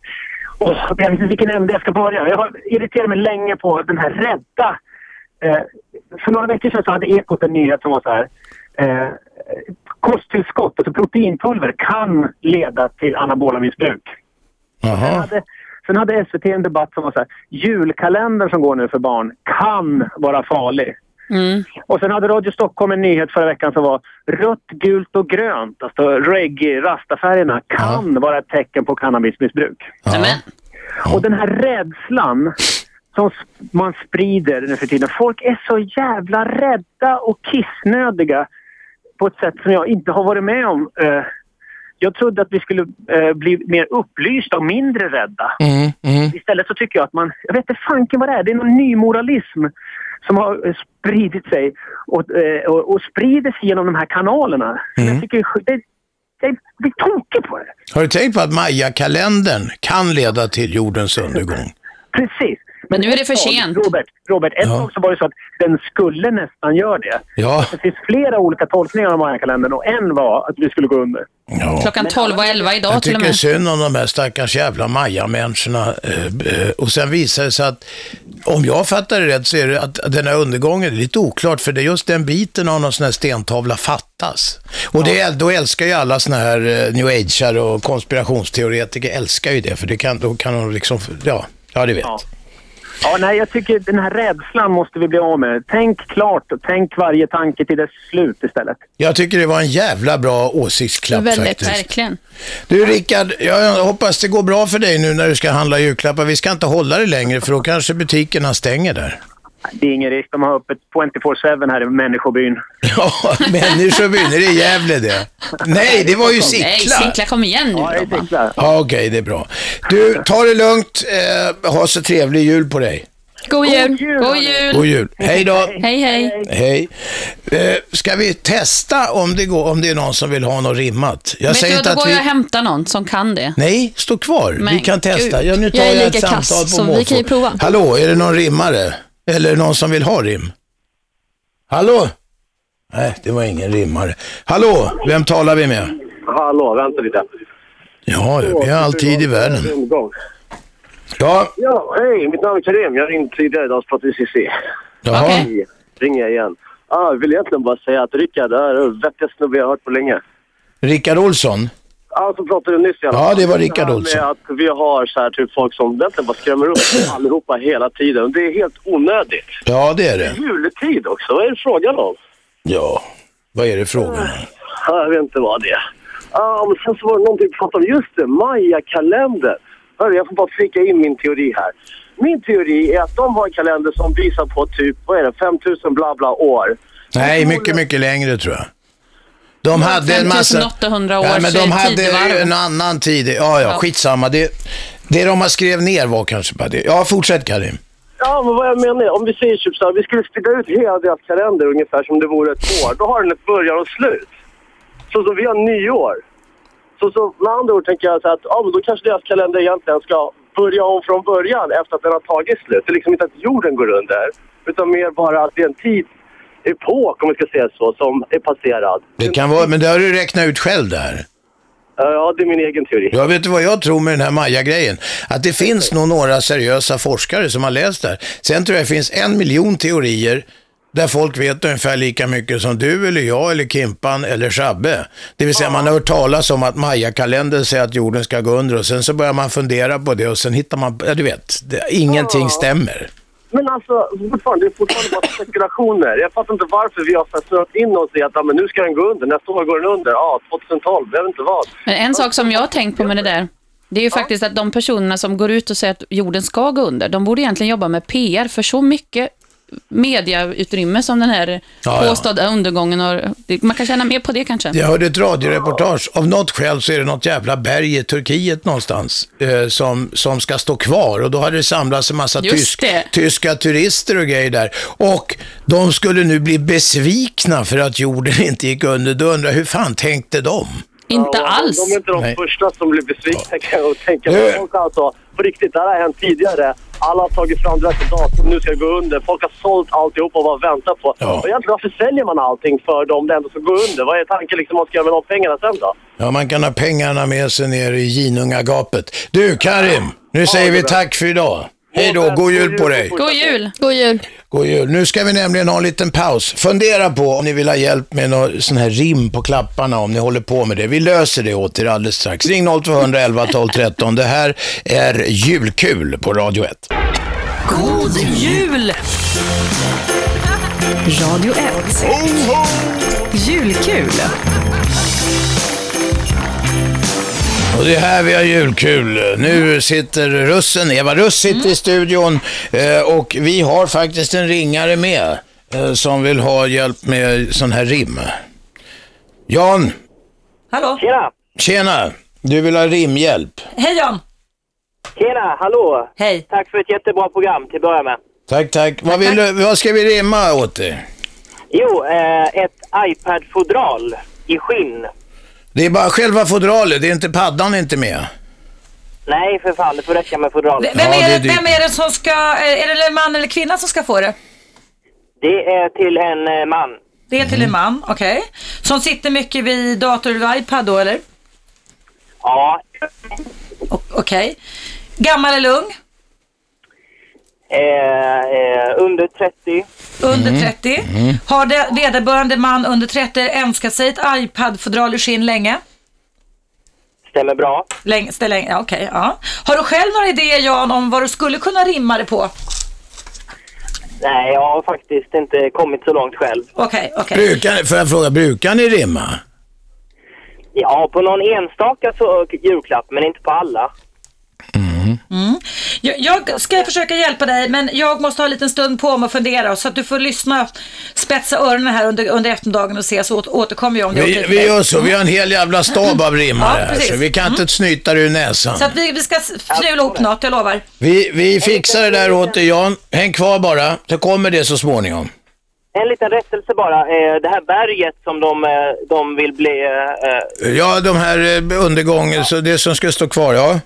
[SPEAKER 10] Åh, jag vet inte vilken ände jag ska börja. Jag har irriterat mig länge på den här rädda Eh, för några veckor sedan så hade Ekot en nyhet som var så här. Eh, kosttillskott, alltså proteinpulver, kan leda till anabola missbruk. Sen hade, sen hade SVT en debatt som var så här. Julkalendern som går nu för barn kan vara farlig. Och sen hade Radio Stockholm en nyhet förra veckan som var rött, gult och grönt, alltså reggae, rastafärgerna, kan vara ett tecken på cannabismissbruk. Och den här rädslan som s- man sprider nu för tiden. Folk är så jävla rädda och kissnödiga på ett sätt som jag inte har varit med om. Eh, Jag trodde att vi skulle eh, bli mer upplysta och mindre rädda.
[SPEAKER 11] Mm, mm.
[SPEAKER 10] Istället så tycker jag att man, jag vet inte fanken vad det är, det är någon ny moralism som har eh, spridit sig och, eh, och, och sprider sig genom de här kanalerna.
[SPEAKER 3] Mm.
[SPEAKER 10] Jag tycker det, det, det blir tokigt på det.
[SPEAKER 3] Har du tänkt på att Maya-kalendern kan leda till jordens undergång?
[SPEAKER 10] Precis.
[SPEAKER 4] Men nu är det för
[SPEAKER 10] ett tag,
[SPEAKER 4] sent.
[SPEAKER 10] Robert, Robert ett
[SPEAKER 3] Ja.
[SPEAKER 10] tag så var det så att den skulle nästan göra det.
[SPEAKER 3] Ja.
[SPEAKER 10] Det finns flera olika tolkningar av Maya-kalendern och en var att vi skulle gå under.
[SPEAKER 4] Klockan 12 och 11 idag
[SPEAKER 3] Jag
[SPEAKER 4] till och
[SPEAKER 3] tycker
[SPEAKER 4] med.
[SPEAKER 3] synd om de här stackars jävla Maja-människorna. eh, eh, Och sen visar det sig att, om jag fattar det rätt, så är det att den här undergången, det är lite oklart, för det är just den biten av någon sån här stentavla fattas. Och det, är- då älskar ju alla såna här eh, new ageare och konspirationsteoretiker älskar ju det, för det kan, då kan de liksom, ja, ja du vet.
[SPEAKER 10] Ja, nej, jag tycker den här rädslan måste vi bli av med. Tänk klart och tänk varje tanke till dess slut istället.
[SPEAKER 3] Jag tycker det var en jävla bra åsiktsklapp faktiskt.
[SPEAKER 4] verkligen.
[SPEAKER 3] Du Rickard, jag hoppas det går bra för dig nu när du ska handla julklappar. Vi ska inte hålla dig längre för då kanske butikerna stänger där.
[SPEAKER 10] Det är ingen risk, de har öppet 24-7 här i människobyn.
[SPEAKER 3] Ja, människobyn, är det Gävle det? Nej, det var ju
[SPEAKER 4] Nej,
[SPEAKER 3] Sickla.
[SPEAKER 4] Sickla kom igen nu. Ja,
[SPEAKER 10] det är Sickla.
[SPEAKER 3] Ja, okej, det är bra. Du, ta det lugnt. Eh, ha så trevlig jul på dig.
[SPEAKER 2] God jul!
[SPEAKER 4] God jul!
[SPEAKER 3] God jul. Hej då.
[SPEAKER 4] Hej, hej.
[SPEAKER 3] Hej. Eh, ska vi testa om det, går, om det är någon som vill ha något rimmat? Jag
[SPEAKER 4] Jag
[SPEAKER 3] säger
[SPEAKER 4] säger
[SPEAKER 3] inte
[SPEAKER 4] Då
[SPEAKER 3] att
[SPEAKER 4] går
[SPEAKER 3] vi...
[SPEAKER 4] jag och hämtar någon som kan det.
[SPEAKER 3] Nej, stå kvar.
[SPEAKER 4] Men
[SPEAKER 3] vi kan testa.
[SPEAKER 4] gud.
[SPEAKER 3] Ja, nu tar
[SPEAKER 4] Jag är
[SPEAKER 3] jag, ett
[SPEAKER 4] lika kass,
[SPEAKER 3] samtal på
[SPEAKER 4] så vi
[SPEAKER 3] måfå.
[SPEAKER 4] kan ju prova.
[SPEAKER 3] Hallå, är det någon rimmare? Eller någon som vill ha rim? Hallå? Nej, det var ingen rimmare. Hallå, vem talar vi med?
[SPEAKER 12] Hallå, vänta lite.
[SPEAKER 3] Ja, ja, vi har all tid i världen.
[SPEAKER 12] Omgång.
[SPEAKER 3] Ja.
[SPEAKER 12] Ja, hej, mitt namn är Karim. Jag ringde tidigare idag och pratade med Cissi.
[SPEAKER 3] Jaha.
[SPEAKER 12] Hej, Ringer jag igen. Ah, jag vill egentligen bara säga att Rickard är den vettigaste snubben jag har hört på länge.
[SPEAKER 3] Rickard Olsson?
[SPEAKER 12] Ja, som pratade nyss i alla
[SPEAKER 3] Ja,
[SPEAKER 12] fall.
[SPEAKER 3] det var Rickard
[SPEAKER 12] här med
[SPEAKER 3] Olsson.
[SPEAKER 12] att vi har så här typ folk som egentligen bara skrämmer upp allihopa hela tiden. Och Det är helt onödigt.
[SPEAKER 3] Ja, det är det.
[SPEAKER 12] Juletid också, vad är det frågan om?
[SPEAKER 3] Ja, vad är det frågan om?
[SPEAKER 12] Ja, Jag vet inte vad det är. Ja, men sen så var det typ någonting vi pratade om. Just det, Maya-kalendern. Hörru, jag får bara flika in min teori här. Min teori är att de har en kalender som visar på typ, vad är det, 5000 bla bla år.
[SPEAKER 3] Nej, mycket, mycket längre tror jag. De hade en massa...
[SPEAKER 4] 5800 år,
[SPEAKER 3] Ja, men
[SPEAKER 4] så är
[SPEAKER 3] de
[SPEAKER 4] det
[SPEAKER 3] hade
[SPEAKER 4] tidevarv.
[SPEAKER 3] en annan tid. Ja, ja,
[SPEAKER 4] Ja.
[SPEAKER 3] skitsamma. Det, det de har skrev ner var kanske bara det. Ja, fortsätt Karim.
[SPEAKER 12] Ja, men vad jag menar är, om vi säger typ så här, vi skulle sprida ut hela deras kalender ungefär som det vore ett år. Då har den ett början och slut. Så som vi har nyår. Så, så med andra ord tänker jag så här att, ja men då kanske deras kalender egentligen ska börja om från början efter att den har tagit slut. Det är liksom inte att jorden går under, utan mer bara att det är en tidsepok, om vi ska säga så, som är passerad.
[SPEAKER 3] Det kan vara, men det har du räknat ut själv där.
[SPEAKER 12] Eh, Ja, det är min egen teori.
[SPEAKER 3] Jag vet du vad jag tror med den här Maja-grejen? Att det finns nog några seriösa forskare som har läst det här. Sen tror jag det finns en miljon teorier där folk vet ungefär lika mycket som du eller jag eller Kimpan eller Shabbe. Det vill säga man har hört talas om att Maja-kalendern säger att jorden ska gå under och sen så börjar man fundera på det och sen hittar man, ja du vet, det, ingenting stämmer.
[SPEAKER 12] Men alltså, fortfarande, det är fortfarande bara spekulationer. Jag fattar inte varför vi har så här snöat in oss i att ja, men nu ska den gå under, nästa år går den under, ja, 2012, jag vet inte vad.
[SPEAKER 4] Men en sak som jag har tänkt på med det där, det är ju faktiskt att de personerna som går ut och säger att jorden ska gå under, de borde egentligen jobba med PR, för så mycket mediautrymme som den här
[SPEAKER 3] Ja, ja.
[SPEAKER 4] påstådda undergången har. det- Man kan tjäna mer på det kanske.
[SPEAKER 3] Jag hörde ett radioreportage. Av något skäl så är det något jävla berg i Turkiet någonstans eh, som, som ska stå kvar. Och då hade det samlats en massa
[SPEAKER 4] Just
[SPEAKER 3] tysk,
[SPEAKER 4] det.
[SPEAKER 3] tyska turister och grejer där. Och de skulle nu bli besvikna för att jorden inte gick under. Då undrar jag, hur fan tänkte de?
[SPEAKER 4] Inte alls.
[SPEAKER 12] De är inte de
[SPEAKER 3] Nej.
[SPEAKER 12] första som blir besvikna kan jag tänka
[SPEAKER 3] Nu-
[SPEAKER 12] mig. Folk har alltså, på riktigt, det här har hänt tidigare. Alla har tagit fram det här datum, nu ska det gå under. Folk har sålt alltihop och vad väntar på. Och egentligen, varför säljer man allting för dem det ändå ska gå under? Vad är tanken liksom, vad ska jag göra med de pengarna sen då?
[SPEAKER 3] Ja, man kan ha pengarna med sig ner i Ginungagapet. Du, Karim, nu säger vi tack för idag. Hej då, god jul på dig.
[SPEAKER 4] God jul!
[SPEAKER 2] God jul!
[SPEAKER 3] God jul. Nu ska vi nämligen ha en liten paus. Fundera på om ni vill ha hjälp med någon sån här rim på klapparna, om ni håller på med det. Vi löser det åt er alldeles strax. Ring 0211 12 13. Det här är Julkul på Radio 1.
[SPEAKER 7] God jul! Radio 1. Julkul.
[SPEAKER 3] Och det är här vi har julkul. Nu sitter russen, Eva Russ sitter
[SPEAKER 1] Mm.
[SPEAKER 3] i studion eh, och vi har faktiskt en ringare med eh, som vill ha hjälp med sån här rim. Jan,
[SPEAKER 1] Hallå?
[SPEAKER 12] Tjena!
[SPEAKER 3] tjena! Du vill ha rimhjälp.
[SPEAKER 1] Hej Jan!
[SPEAKER 12] Tjena, hallå!
[SPEAKER 1] Hej!
[SPEAKER 12] Tack för ett jättebra program till att börja med.
[SPEAKER 3] Tack, tack. Vad, vill du, vad ska vi rimma åt dig?
[SPEAKER 12] Jo, eh, ett iPad-fodral i skinn.
[SPEAKER 3] Det är bara själva fodralet, det är inte paddan är inte med.
[SPEAKER 12] Nej, för fan, det får räcka med fodralet.
[SPEAKER 1] Vem,
[SPEAKER 3] Ja,
[SPEAKER 1] är
[SPEAKER 3] det
[SPEAKER 1] det,
[SPEAKER 3] är dyrt.
[SPEAKER 1] vem är det som ska, eh, är det en man eller kvinna som ska få det?
[SPEAKER 12] Det är till en eh, man.
[SPEAKER 1] Det är till en man, okej. Som sitter mycket vid dator eller iPad då eller?
[SPEAKER 12] Ja.
[SPEAKER 1] O- Okej. Gammal eller ung?
[SPEAKER 12] Eh, eh, under 30.
[SPEAKER 1] Under
[SPEAKER 3] Mm.
[SPEAKER 1] 30. Har det vederbörande man under 30 önskat sig ett iPad-fodral ur skinn länge?
[SPEAKER 12] Stämmer bra.
[SPEAKER 1] Länge, stä- länge ja, okej. ja. Har du själv några idéer Jan om vad du skulle kunna rimma det på?
[SPEAKER 12] Nej, jag har faktiskt inte kommit så långt själv.
[SPEAKER 1] Okej, okej.
[SPEAKER 3] Brukar, får jag fråga, brukar ni rimma?
[SPEAKER 12] Ja, på någon enstaka så, julklapp, men inte på alla.
[SPEAKER 1] Mm. Jag, jag ska försöka hjälpa dig, men jag måste ha en liten stund på mig att fundera så att du får lyssna, spetsa öronen här under, under eftermiddagen och se så åt, återkommer jag om det är okej
[SPEAKER 3] Vi,
[SPEAKER 1] för
[SPEAKER 3] vi
[SPEAKER 1] dig.
[SPEAKER 3] gör så, vi har en hel jävla stab av rimmare
[SPEAKER 1] Ja,
[SPEAKER 3] här,
[SPEAKER 1] precis. Mm.
[SPEAKER 3] så vi kan inte snyta det ur näsan.
[SPEAKER 1] Så att vi, vi ska s- fnula ihop något, jag lovar.
[SPEAKER 3] Vi, vi fixar det där åt dig Jan. Häng kvar bara, så kommer det så småningom.
[SPEAKER 12] En liten rättelse bara. Eh, det här berget som de, eh, de vill bli... eh, eh,
[SPEAKER 3] Ja, de här eh, undergången, så det som ska stå kvar, ja.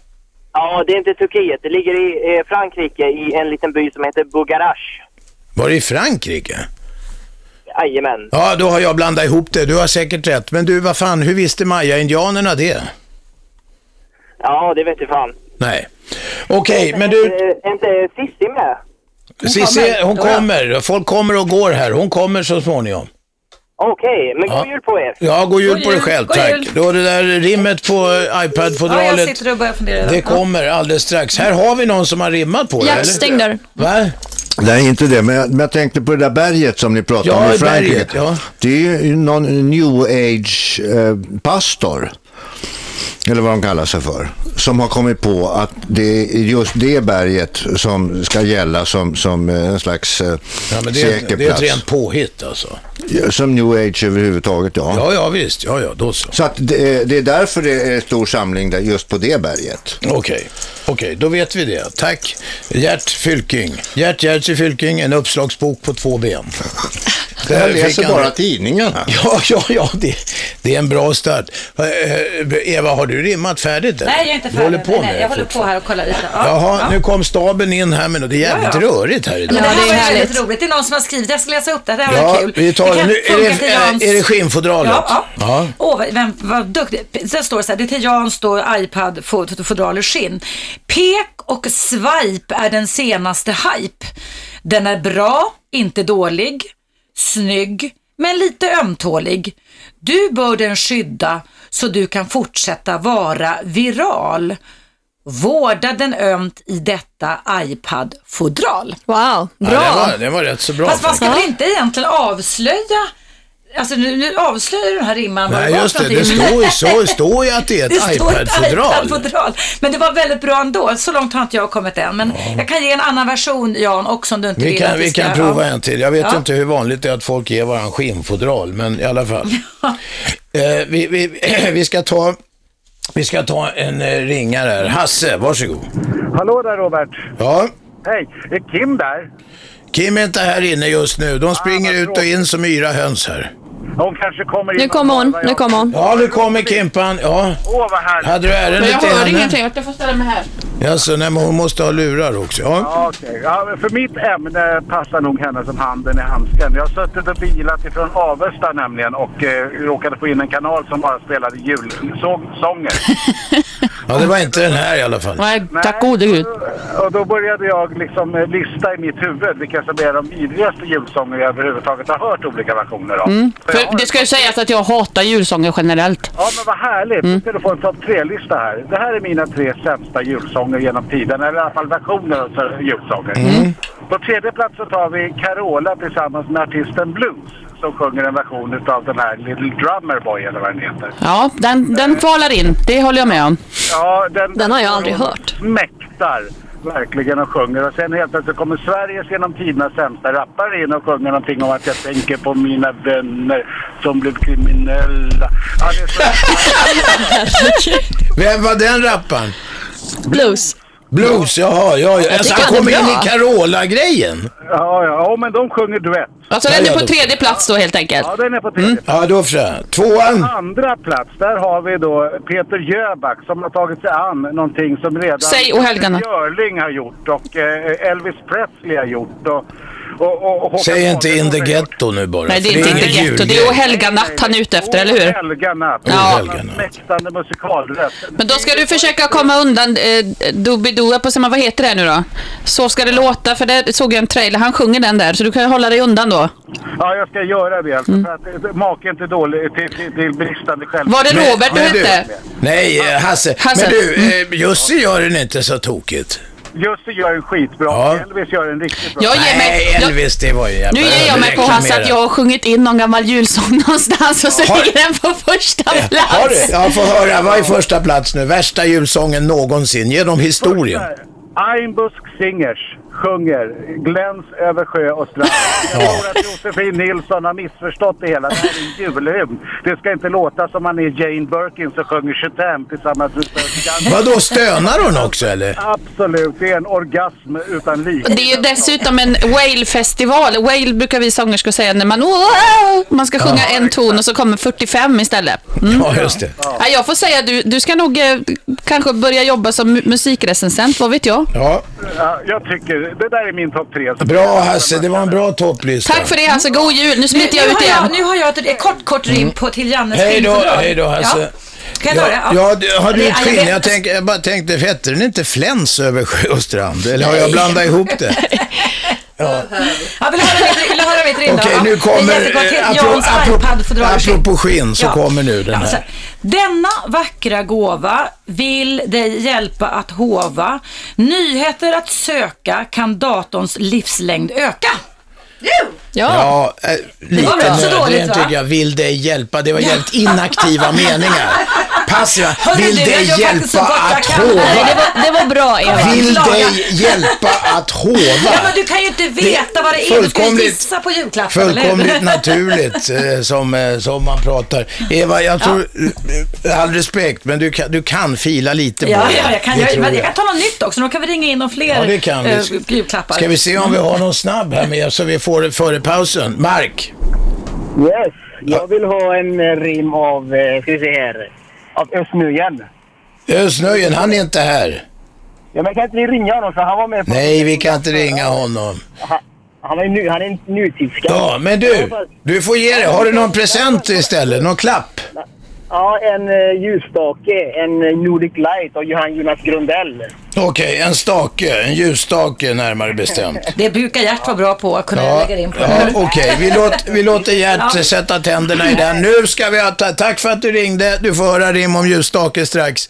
[SPEAKER 12] ja, det är inte Turkiet. Det ligger i eh, Frankrike i en liten by som heter Bugarach.
[SPEAKER 3] Var det i Frankrike?
[SPEAKER 12] Jajamän.
[SPEAKER 3] Ja, då har jag blandat ihop det. Du har säkert rätt. Men du, vad fan, hur visste Maya-indianerna det?
[SPEAKER 12] Ja, det vet du fan. Eh,
[SPEAKER 3] Nej. Okej, men du,
[SPEAKER 12] Är inte Cissi med?
[SPEAKER 3] Cissi, hon
[SPEAKER 12] Ja.
[SPEAKER 3] kommer. Folk kommer och går här. Hon kommer så småningom.
[SPEAKER 12] Okej, men
[SPEAKER 3] Ja.
[SPEAKER 12] god jul på er!
[SPEAKER 3] Ja, god jul
[SPEAKER 12] God
[SPEAKER 3] på dig
[SPEAKER 12] jul,
[SPEAKER 3] själv,
[SPEAKER 12] god
[SPEAKER 3] tack.
[SPEAKER 12] jul.
[SPEAKER 3] Då det där rimmet på eh,
[SPEAKER 1] Ja, jag
[SPEAKER 3] iPad-fodralet,
[SPEAKER 1] sitter och börjar fundera.
[SPEAKER 3] det
[SPEAKER 1] Ja.
[SPEAKER 3] kommer alldeles strax. Här har vi någon som har rimmat på det, eller?
[SPEAKER 2] dörren.
[SPEAKER 3] Va?
[SPEAKER 5] Nej, inte det, men jag, men jag tänkte på det där berget som ni pratade
[SPEAKER 3] Ja,
[SPEAKER 5] om i
[SPEAKER 3] berget,
[SPEAKER 5] Frankrike.
[SPEAKER 3] ja.
[SPEAKER 5] Det är ju någon new age-pastor, eller vad de kallar sig för, som har kommit på att det är just det berget som ska gälla som, som eh, en slags eh,
[SPEAKER 3] Ja, men det,
[SPEAKER 5] säker
[SPEAKER 3] är, det är ett
[SPEAKER 5] plats.
[SPEAKER 3] rent påhitt alltså.
[SPEAKER 5] Ja, Som new age överhuvudtaget, ja.
[SPEAKER 3] Ja, ja, visst. Ja, ja, då så.
[SPEAKER 5] Så att det, det är därför det är stor samling där, just på det berget.
[SPEAKER 3] Okej, okej, då vet vi det. Tack Gert Fylking. Gert Gertzi Fylking, en uppslagsbok på två ben.
[SPEAKER 5] Det här
[SPEAKER 3] Där
[SPEAKER 5] läser
[SPEAKER 3] fick han-
[SPEAKER 5] bara tidningarna.
[SPEAKER 3] Ja, ja, ja, det, det är en bra start. Eh, Eva, har du rimmat färdigt? eller?
[SPEAKER 1] Nej, jag är inte
[SPEAKER 3] Du håller
[SPEAKER 1] färdig.
[SPEAKER 3] på
[SPEAKER 1] Nej,
[SPEAKER 3] med
[SPEAKER 1] nej,
[SPEAKER 3] det
[SPEAKER 1] jag håller på
[SPEAKER 3] fortfarande.
[SPEAKER 1] här och kollar lite. Ja,
[SPEAKER 3] Jaha,
[SPEAKER 1] ja.
[SPEAKER 3] nu kom staben in här, men det är jävligt
[SPEAKER 1] Ja, ja.
[SPEAKER 3] rörigt här
[SPEAKER 1] Men
[SPEAKER 3] idag.
[SPEAKER 1] det här var ju
[SPEAKER 2] härligt.
[SPEAKER 1] väldigt roligt. Det är någon som har skrivit, jag ska läsa upp det, det här var
[SPEAKER 3] Ja,
[SPEAKER 1] kul.
[SPEAKER 3] vi tar det.
[SPEAKER 1] kan
[SPEAKER 3] Nu, är,
[SPEAKER 1] funka till
[SPEAKER 3] det,
[SPEAKER 1] Jans-
[SPEAKER 3] är, är det skinnfodralet?
[SPEAKER 1] Ja, ja.
[SPEAKER 3] ja.
[SPEAKER 1] Åh, vad- vem, vad duktig. Sen står det så här, det är till Jans då, iPad, fod- fodral och skinn. Pek och swipe är den senaste hype. Den är bra, inte dålig, snygg, men lite ömtålig. Du bör den skydda så du kan fortsätta vara viral. Vårda den ömt i detta iPad-fodral.
[SPEAKER 2] Wow,
[SPEAKER 3] Ja, det, var, det var rätt så bra.
[SPEAKER 1] Fast man ska
[SPEAKER 3] faktiskt.
[SPEAKER 1] väl inte egentligen avslöja Alltså nu, nu avslöjar du den här rimman. vad
[SPEAKER 3] Nej,
[SPEAKER 1] var
[SPEAKER 3] just
[SPEAKER 1] för
[SPEAKER 3] det. Det
[SPEAKER 1] någonting.
[SPEAKER 3] står ju, så, står ju att det är
[SPEAKER 1] Det
[SPEAKER 3] ett
[SPEAKER 1] står ett
[SPEAKER 3] iPad-fodral.
[SPEAKER 1] iPad-fodral. Men det var väldigt bra ändå. Så långt har inte jag kommit än. Men jag kan ge en annan version Jan också om du inte
[SPEAKER 3] Vi
[SPEAKER 1] vill
[SPEAKER 3] kan,
[SPEAKER 1] att vi
[SPEAKER 3] vi
[SPEAKER 1] ska-
[SPEAKER 3] kan prova en till. Jag vet
[SPEAKER 1] Ja.
[SPEAKER 3] inte hur vanligt det är att folk ger varandra skinnfodral, men i alla fall. eh, vi, vi, vi, ska ta, vi ska ta en eh, ringare här. Hasse, varsågod.
[SPEAKER 11] Hallå där Robert!
[SPEAKER 3] Ja,
[SPEAKER 11] Hej! Är Kim där? Ah,
[SPEAKER 3] Kim är inte här inne just nu. De springer ut och in som yra höns här.
[SPEAKER 11] Hon kanske kommer in
[SPEAKER 2] Nu
[SPEAKER 11] och
[SPEAKER 2] kommer hon,
[SPEAKER 11] svarar
[SPEAKER 2] nu
[SPEAKER 11] jag.
[SPEAKER 2] kommer hon.
[SPEAKER 3] Ja, nu kommer Kimpan. Ja.
[SPEAKER 11] Åh vad härligt!
[SPEAKER 3] Hade du ärendet
[SPEAKER 4] Men jag
[SPEAKER 3] till
[SPEAKER 4] hörde
[SPEAKER 3] henne?
[SPEAKER 4] ingenting, jag får ställa mig här.
[SPEAKER 3] Jaså, nej, men hon måste ha lurar också. Ja.
[SPEAKER 11] Ja, okej. ja, men för mitt ämne passar nog henne som handen i handsken. Jag har suttit och bilat ifrån Avesta nämligen och eh, råkade få in en kanal som bara spelade julsånger.
[SPEAKER 3] Ja, det var inte den här i alla fall.
[SPEAKER 4] Nej, tack gode gud.
[SPEAKER 11] Och då började jag liksom eh, lista i mitt huvud vilka som är de vidrigaste julsånger jag överhuvudtaget har hört olika versioner av.
[SPEAKER 4] Mm. För det ska ju sägas att jag hatar julsånger generellt.
[SPEAKER 11] Ja, men vad härligt.
[SPEAKER 4] Mm.
[SPEAKER 11] Nu ska du få en topp tre-lista här. Det här är mina tre sämsta julsånger genom tiden, eller i alla fall versioner av så- julsånger.
[SPEAKER 4] Mm.
[SPEAKER 11] På tredje plats så tar vi Carola tillsammans med artisten Blues som sjunger en version av den här Little Drummer Boy eller vad den heter.
[SPEAKER 4] Ja, den, den kvalar in. Det håller jag med om.
[SPEAKER 11] Ja, den,
[SPEAKER 4] Den har jag aldrig
[SPEAKER 11] hon
[SPEAKER 4] hört.
[SPEAKER 11] Mäktar verkligen och sjunger och sen helt plötsligt kommer Sveriges genom tiderna sämsta rappare in och sjunger någonting om att jag tänker på mina vänner som blev kriminella. Ja, det är så...
[SPEAKER 3] Vem var den rapparen?
[SPEAKER 2] Blues.
[SPEAKER 3] Blues, jaha. Ja, ja.
[SPEAKER 11] Jag
[SPEAKER 3] Alltså,
[SPEAKER 11] tycker
[SPEAKER 3] han
[SPEAKER 11] han
[SPEAKER 3] kom
[SPEAKER 11] är
[SPEAKER 3] in
[SPEAKER 11] bra.
[SPEAKER 3] i Carola-grejen.
[SPEAKER 11] Ja, ja, ja, men de sjunger duett.
[SPEAKER 4] Alltså den är på tredje plats då helt enkelt.
[SPEAKER 11] Ja, den är på tredje.
[SPEAKER 3] Mm. Ja, då så. Tvåan.
[SPEAKER 11] Andra plats, där har vi då Peter Jöback som har tagit sig an någonting som redan
[SPEAKER 4] Säg och helgarna.
[SPEAKER 11] Björling har gjort och eh, Elvis Presley har gjort. Och, och, och, och
[SPEAKER 3] Säg inte in the ghetto nu bara.
[SPEAKER 4] Nej, det är
[SPEAKER 3] för
[SPEAKER 4] inte in the
[SPEAKER 3] ingen
[SPEAKER 4] ghetto. Det är
[SPEAKER 3] julgrej.
[SPEAKER 4] O helga natt han är ute efter, eller hur?
[SPEAKER 11] Helga natt.
[SPEAKER 4] Ja.
[SPEAKER 11] Mäktande musikalröst.
[SPEAKER 4] Men då ska du försöka komma undan eh, Doobidoo, jag på samma vad heter det nu då? Så ska det låta, för det såg jag en trailer, han sjunger den där, så du kan hålla dig undan då.
[SPEAKER 11] Ja, jag ska göra det alltså. För att eh, maken till, dålig, till, till, till bristande själv.
[SPEAKER 4] Mm. Var det Robert du hette?
[SPEAKER 3] Nej, eh, Hasse.
[SPEAKER 11] Hasse.
[SPEAKER 3] Men du, eh, Jussi gör den inte så tokigt.
[SPEAKER 11] Jussi gör en skitbra. Elvis gör en riktigt bra.
[SPEAKER 4] Jag ger mig-
[SPEAKER 3] Nej,
[SPEAKER 4] jag-
[SPEAKER 3] Elvis, det var ju jävla
[SPEAKER 4] Nu ger jag mig på Hasse att jag har sjungit in någon gammal julsång någonstans och så
[SPEAKER 3] Har-
[SPEAKER 4] ligger den på första plats.
[SPEAKER 3] Har du? Jag får höra, vad är första plats nu? Värsta julsången någonsin. Genom historien.
[SPEAKER 11] Einbusk Singers sjunger Gläns över sjö och strand. Jag tror att Josefin Nilsson har missförstått det hela. Det här är en julhymn. Det ska inte låta som man är Jane Birkin som sjunger 25 tillsammans med Stödjan.
[SPEAKER 3] Vadå, stönar hon också eller?
[SPEAKER 11] Absolut, det är en orgasm utan like.
[SPEAKER 4] Och Det är ju dessutom en Whale-festival. Whale brukar vi sångerskor säga när man, man ska sjunga
[SPEAKER 3] Ja.
[SPEAKER 4] en ton och så kommer 45 istället. Mm.
[SPEAKER 3] Ja, just det.
[SPEAKER 4] Ja, jag får säga, du, du ska nog eh, kanske börja jobba som mu- musikrecensent, vad vet jag?
[SPEAKER 3] Ja,
[SPEAKER 11] Ja, jag tycker, det där är min topp tre.
[SPEAKER 3] bra Hasse. Det var en bra topplista.
[SPEAKER 4] Tack för det Hasse, god jul! Nu smiter jag
[SPEAKER 1] nu
[SPEAKER 4] ut
[SPEAKER 1] har
[SPEAKER 4] igen.
[SPEAKER 1] nu har jag ett, ett kort, kort rim på, till Jannes
[SPEAKER 3] Mm. Hej då,
[SPEAKER 1] filmfördrag.
[SPEAKER 3] hej då Hasse.
[SPEAKER 1] Kan jag ta det?
[SPEAKER 3] Ja, ja, du- har du
[SPEAKER 1] Det-
[SPEAKER 3] ett
[SPEAKER 1] ja, jag
[SPEAKER 3] skinn?
[SPEAKER 1] vet-
[SPEAKER 3] Jag, tänk, jag bara tänkte, hette den inte Fläns över sjö och strand? Eller har jag blandat ihop det? Ja.
[SPEAKER 1] Ja, vill du höra mitt, vill du höra mitt rim då?
[SPEAKER 3] Okej,
[SPEAKER 1] Ja.
[SPEAKER 3] nu
[SPEAKER 1] Det är
[SPEAKER 3] kommer,
[SPEAKER 1] jättekort.
[SPEAKER 3] eh,
[SPEAKER 1] Jans
[SPEAKER 3] apropå-
[SPEAKER 1] iPad-fodral.
[SPEAKER 3] apropå skinn, så kommer nu den
[SPEAKER 1] så
[SPEAKER 3] här.
[SPEAKER 1] Alltså, Denna vackra gåva vill dig hjälpa att hova. Nyheter att söka kan datorns livslängd öka.
[SPEAKER 3] Ja, eh, lite
[SPEAKER 1] var väl inte så
[SPEAKER 3] nödvändigt
[SPEAKER 1] dåligt, va?
[SPEAKER 3] tycker jag. Vill dig hjälpa? Det var jävligt inaktiva meningar. Passiva.
[SPEAKER 1] Hörru,
[SPEAKER 3] Vill
[SPEAKER 1] du, jag
[SPEAKER 3] dig
[SPEAKER 1] gör faktiskt
[SPEAKER 3] hjälpa
[SPEAKER 1] så gott jag
[SPEAKER 3] att
[SPEAKER 1] kan.
[SPEAKER 3] hova?
[SPEAKER 1] Nej, det var-
[SPEAKER 2] det var bra,
[SPEAKER 1] Eva.
[SPEAKER 3] Vill
[SPEAKER 1] Klaga.
[SPEAKER 3] dig hjälpa att hova?
[SPEAKER 1] Ja, men du kan ju inte veta vad det är. Du ska ju
[SPEAKER 3] fullkomligt-
[SPEAKER 1] gissa på julklappen, eller
[SPEAKER 3] Fullkomligt
[SPEAKER 1] hur?
[SPEAKER 3] naturligt eh, som, eh, som man pratar. Eva, jag tror, eh, all respekt, men du kan, du kan fila lite på
[SPEAKER 1] Ja,
[SPEAKER 3] det.
[SPEAKER 1] ja, jag kan,
[SPEAKER 3] Det
[SPEAKER 1] jag,
[SPEAKER 3] tror
[SPEAKER 1] men jag kan ta något nytt också. Då kan vi ringa in om fler
[SPEAKER 3] Ja, det kan vi.
[SPEAKER 1] eh, julklappar.
[SPEAKER 3] Ska vi se om vi har någon snabb här med så vi får det före pausen. Mark,
[SPEAKER 13] Yes, jag vill ha en eh, rim av, eh, ska vi se här, av Ösnöjen.
[SPEAKER 3] Ösnöjen, han är inte här.
[SPEAKER 13] Ja, men kan inte ni ringa honom för han var med på...
[SPEAKER 3] Nej, vi kan inte ringa honom.
[SPEAKER 13] Han, han, är, nu, han är en nutidsskatt.
[SPEAKER 3] Ja, men du, du får ge dig. Har du någon present istället? Någon klapp?
[SPEAKER 13] Ja, en eh, ljusstake, en eh, Nordic Light av Johan Jonas Grundell.
[SPEAKER 3] Okej, en stake, en ljusstake närmare bestämt.
[SPEAKER 1] Det brukar Gert vara bra på att kunna
[SPEAKER 3] Ja,
[SPEAKER 1] lägga in på.
[SPEAKER 3] ja okej. Vi, låt, vi låter Gert
[SPEAKER 1] Ja.
[SPEAKER 3] sätta tänderna i den. Nu ska vi ha... ta- Tack för att du ringde. Du får höra rim om ljusstake strax.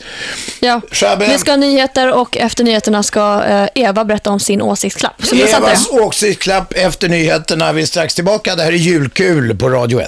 [SPEAKER 2] Ja.
[SPEAKER 3] Shabbe.
[SPEAKER 2] Vi ska ha nyheter och efter nyheterna ska eh, Eva berätta om sin åsiktsklapp. Så missa inte det.
[SPEAKER 3] Evas åsiktsklapp efter nyheterna. Vi är strax tillbaka. Det här är Julkul på Radio 1.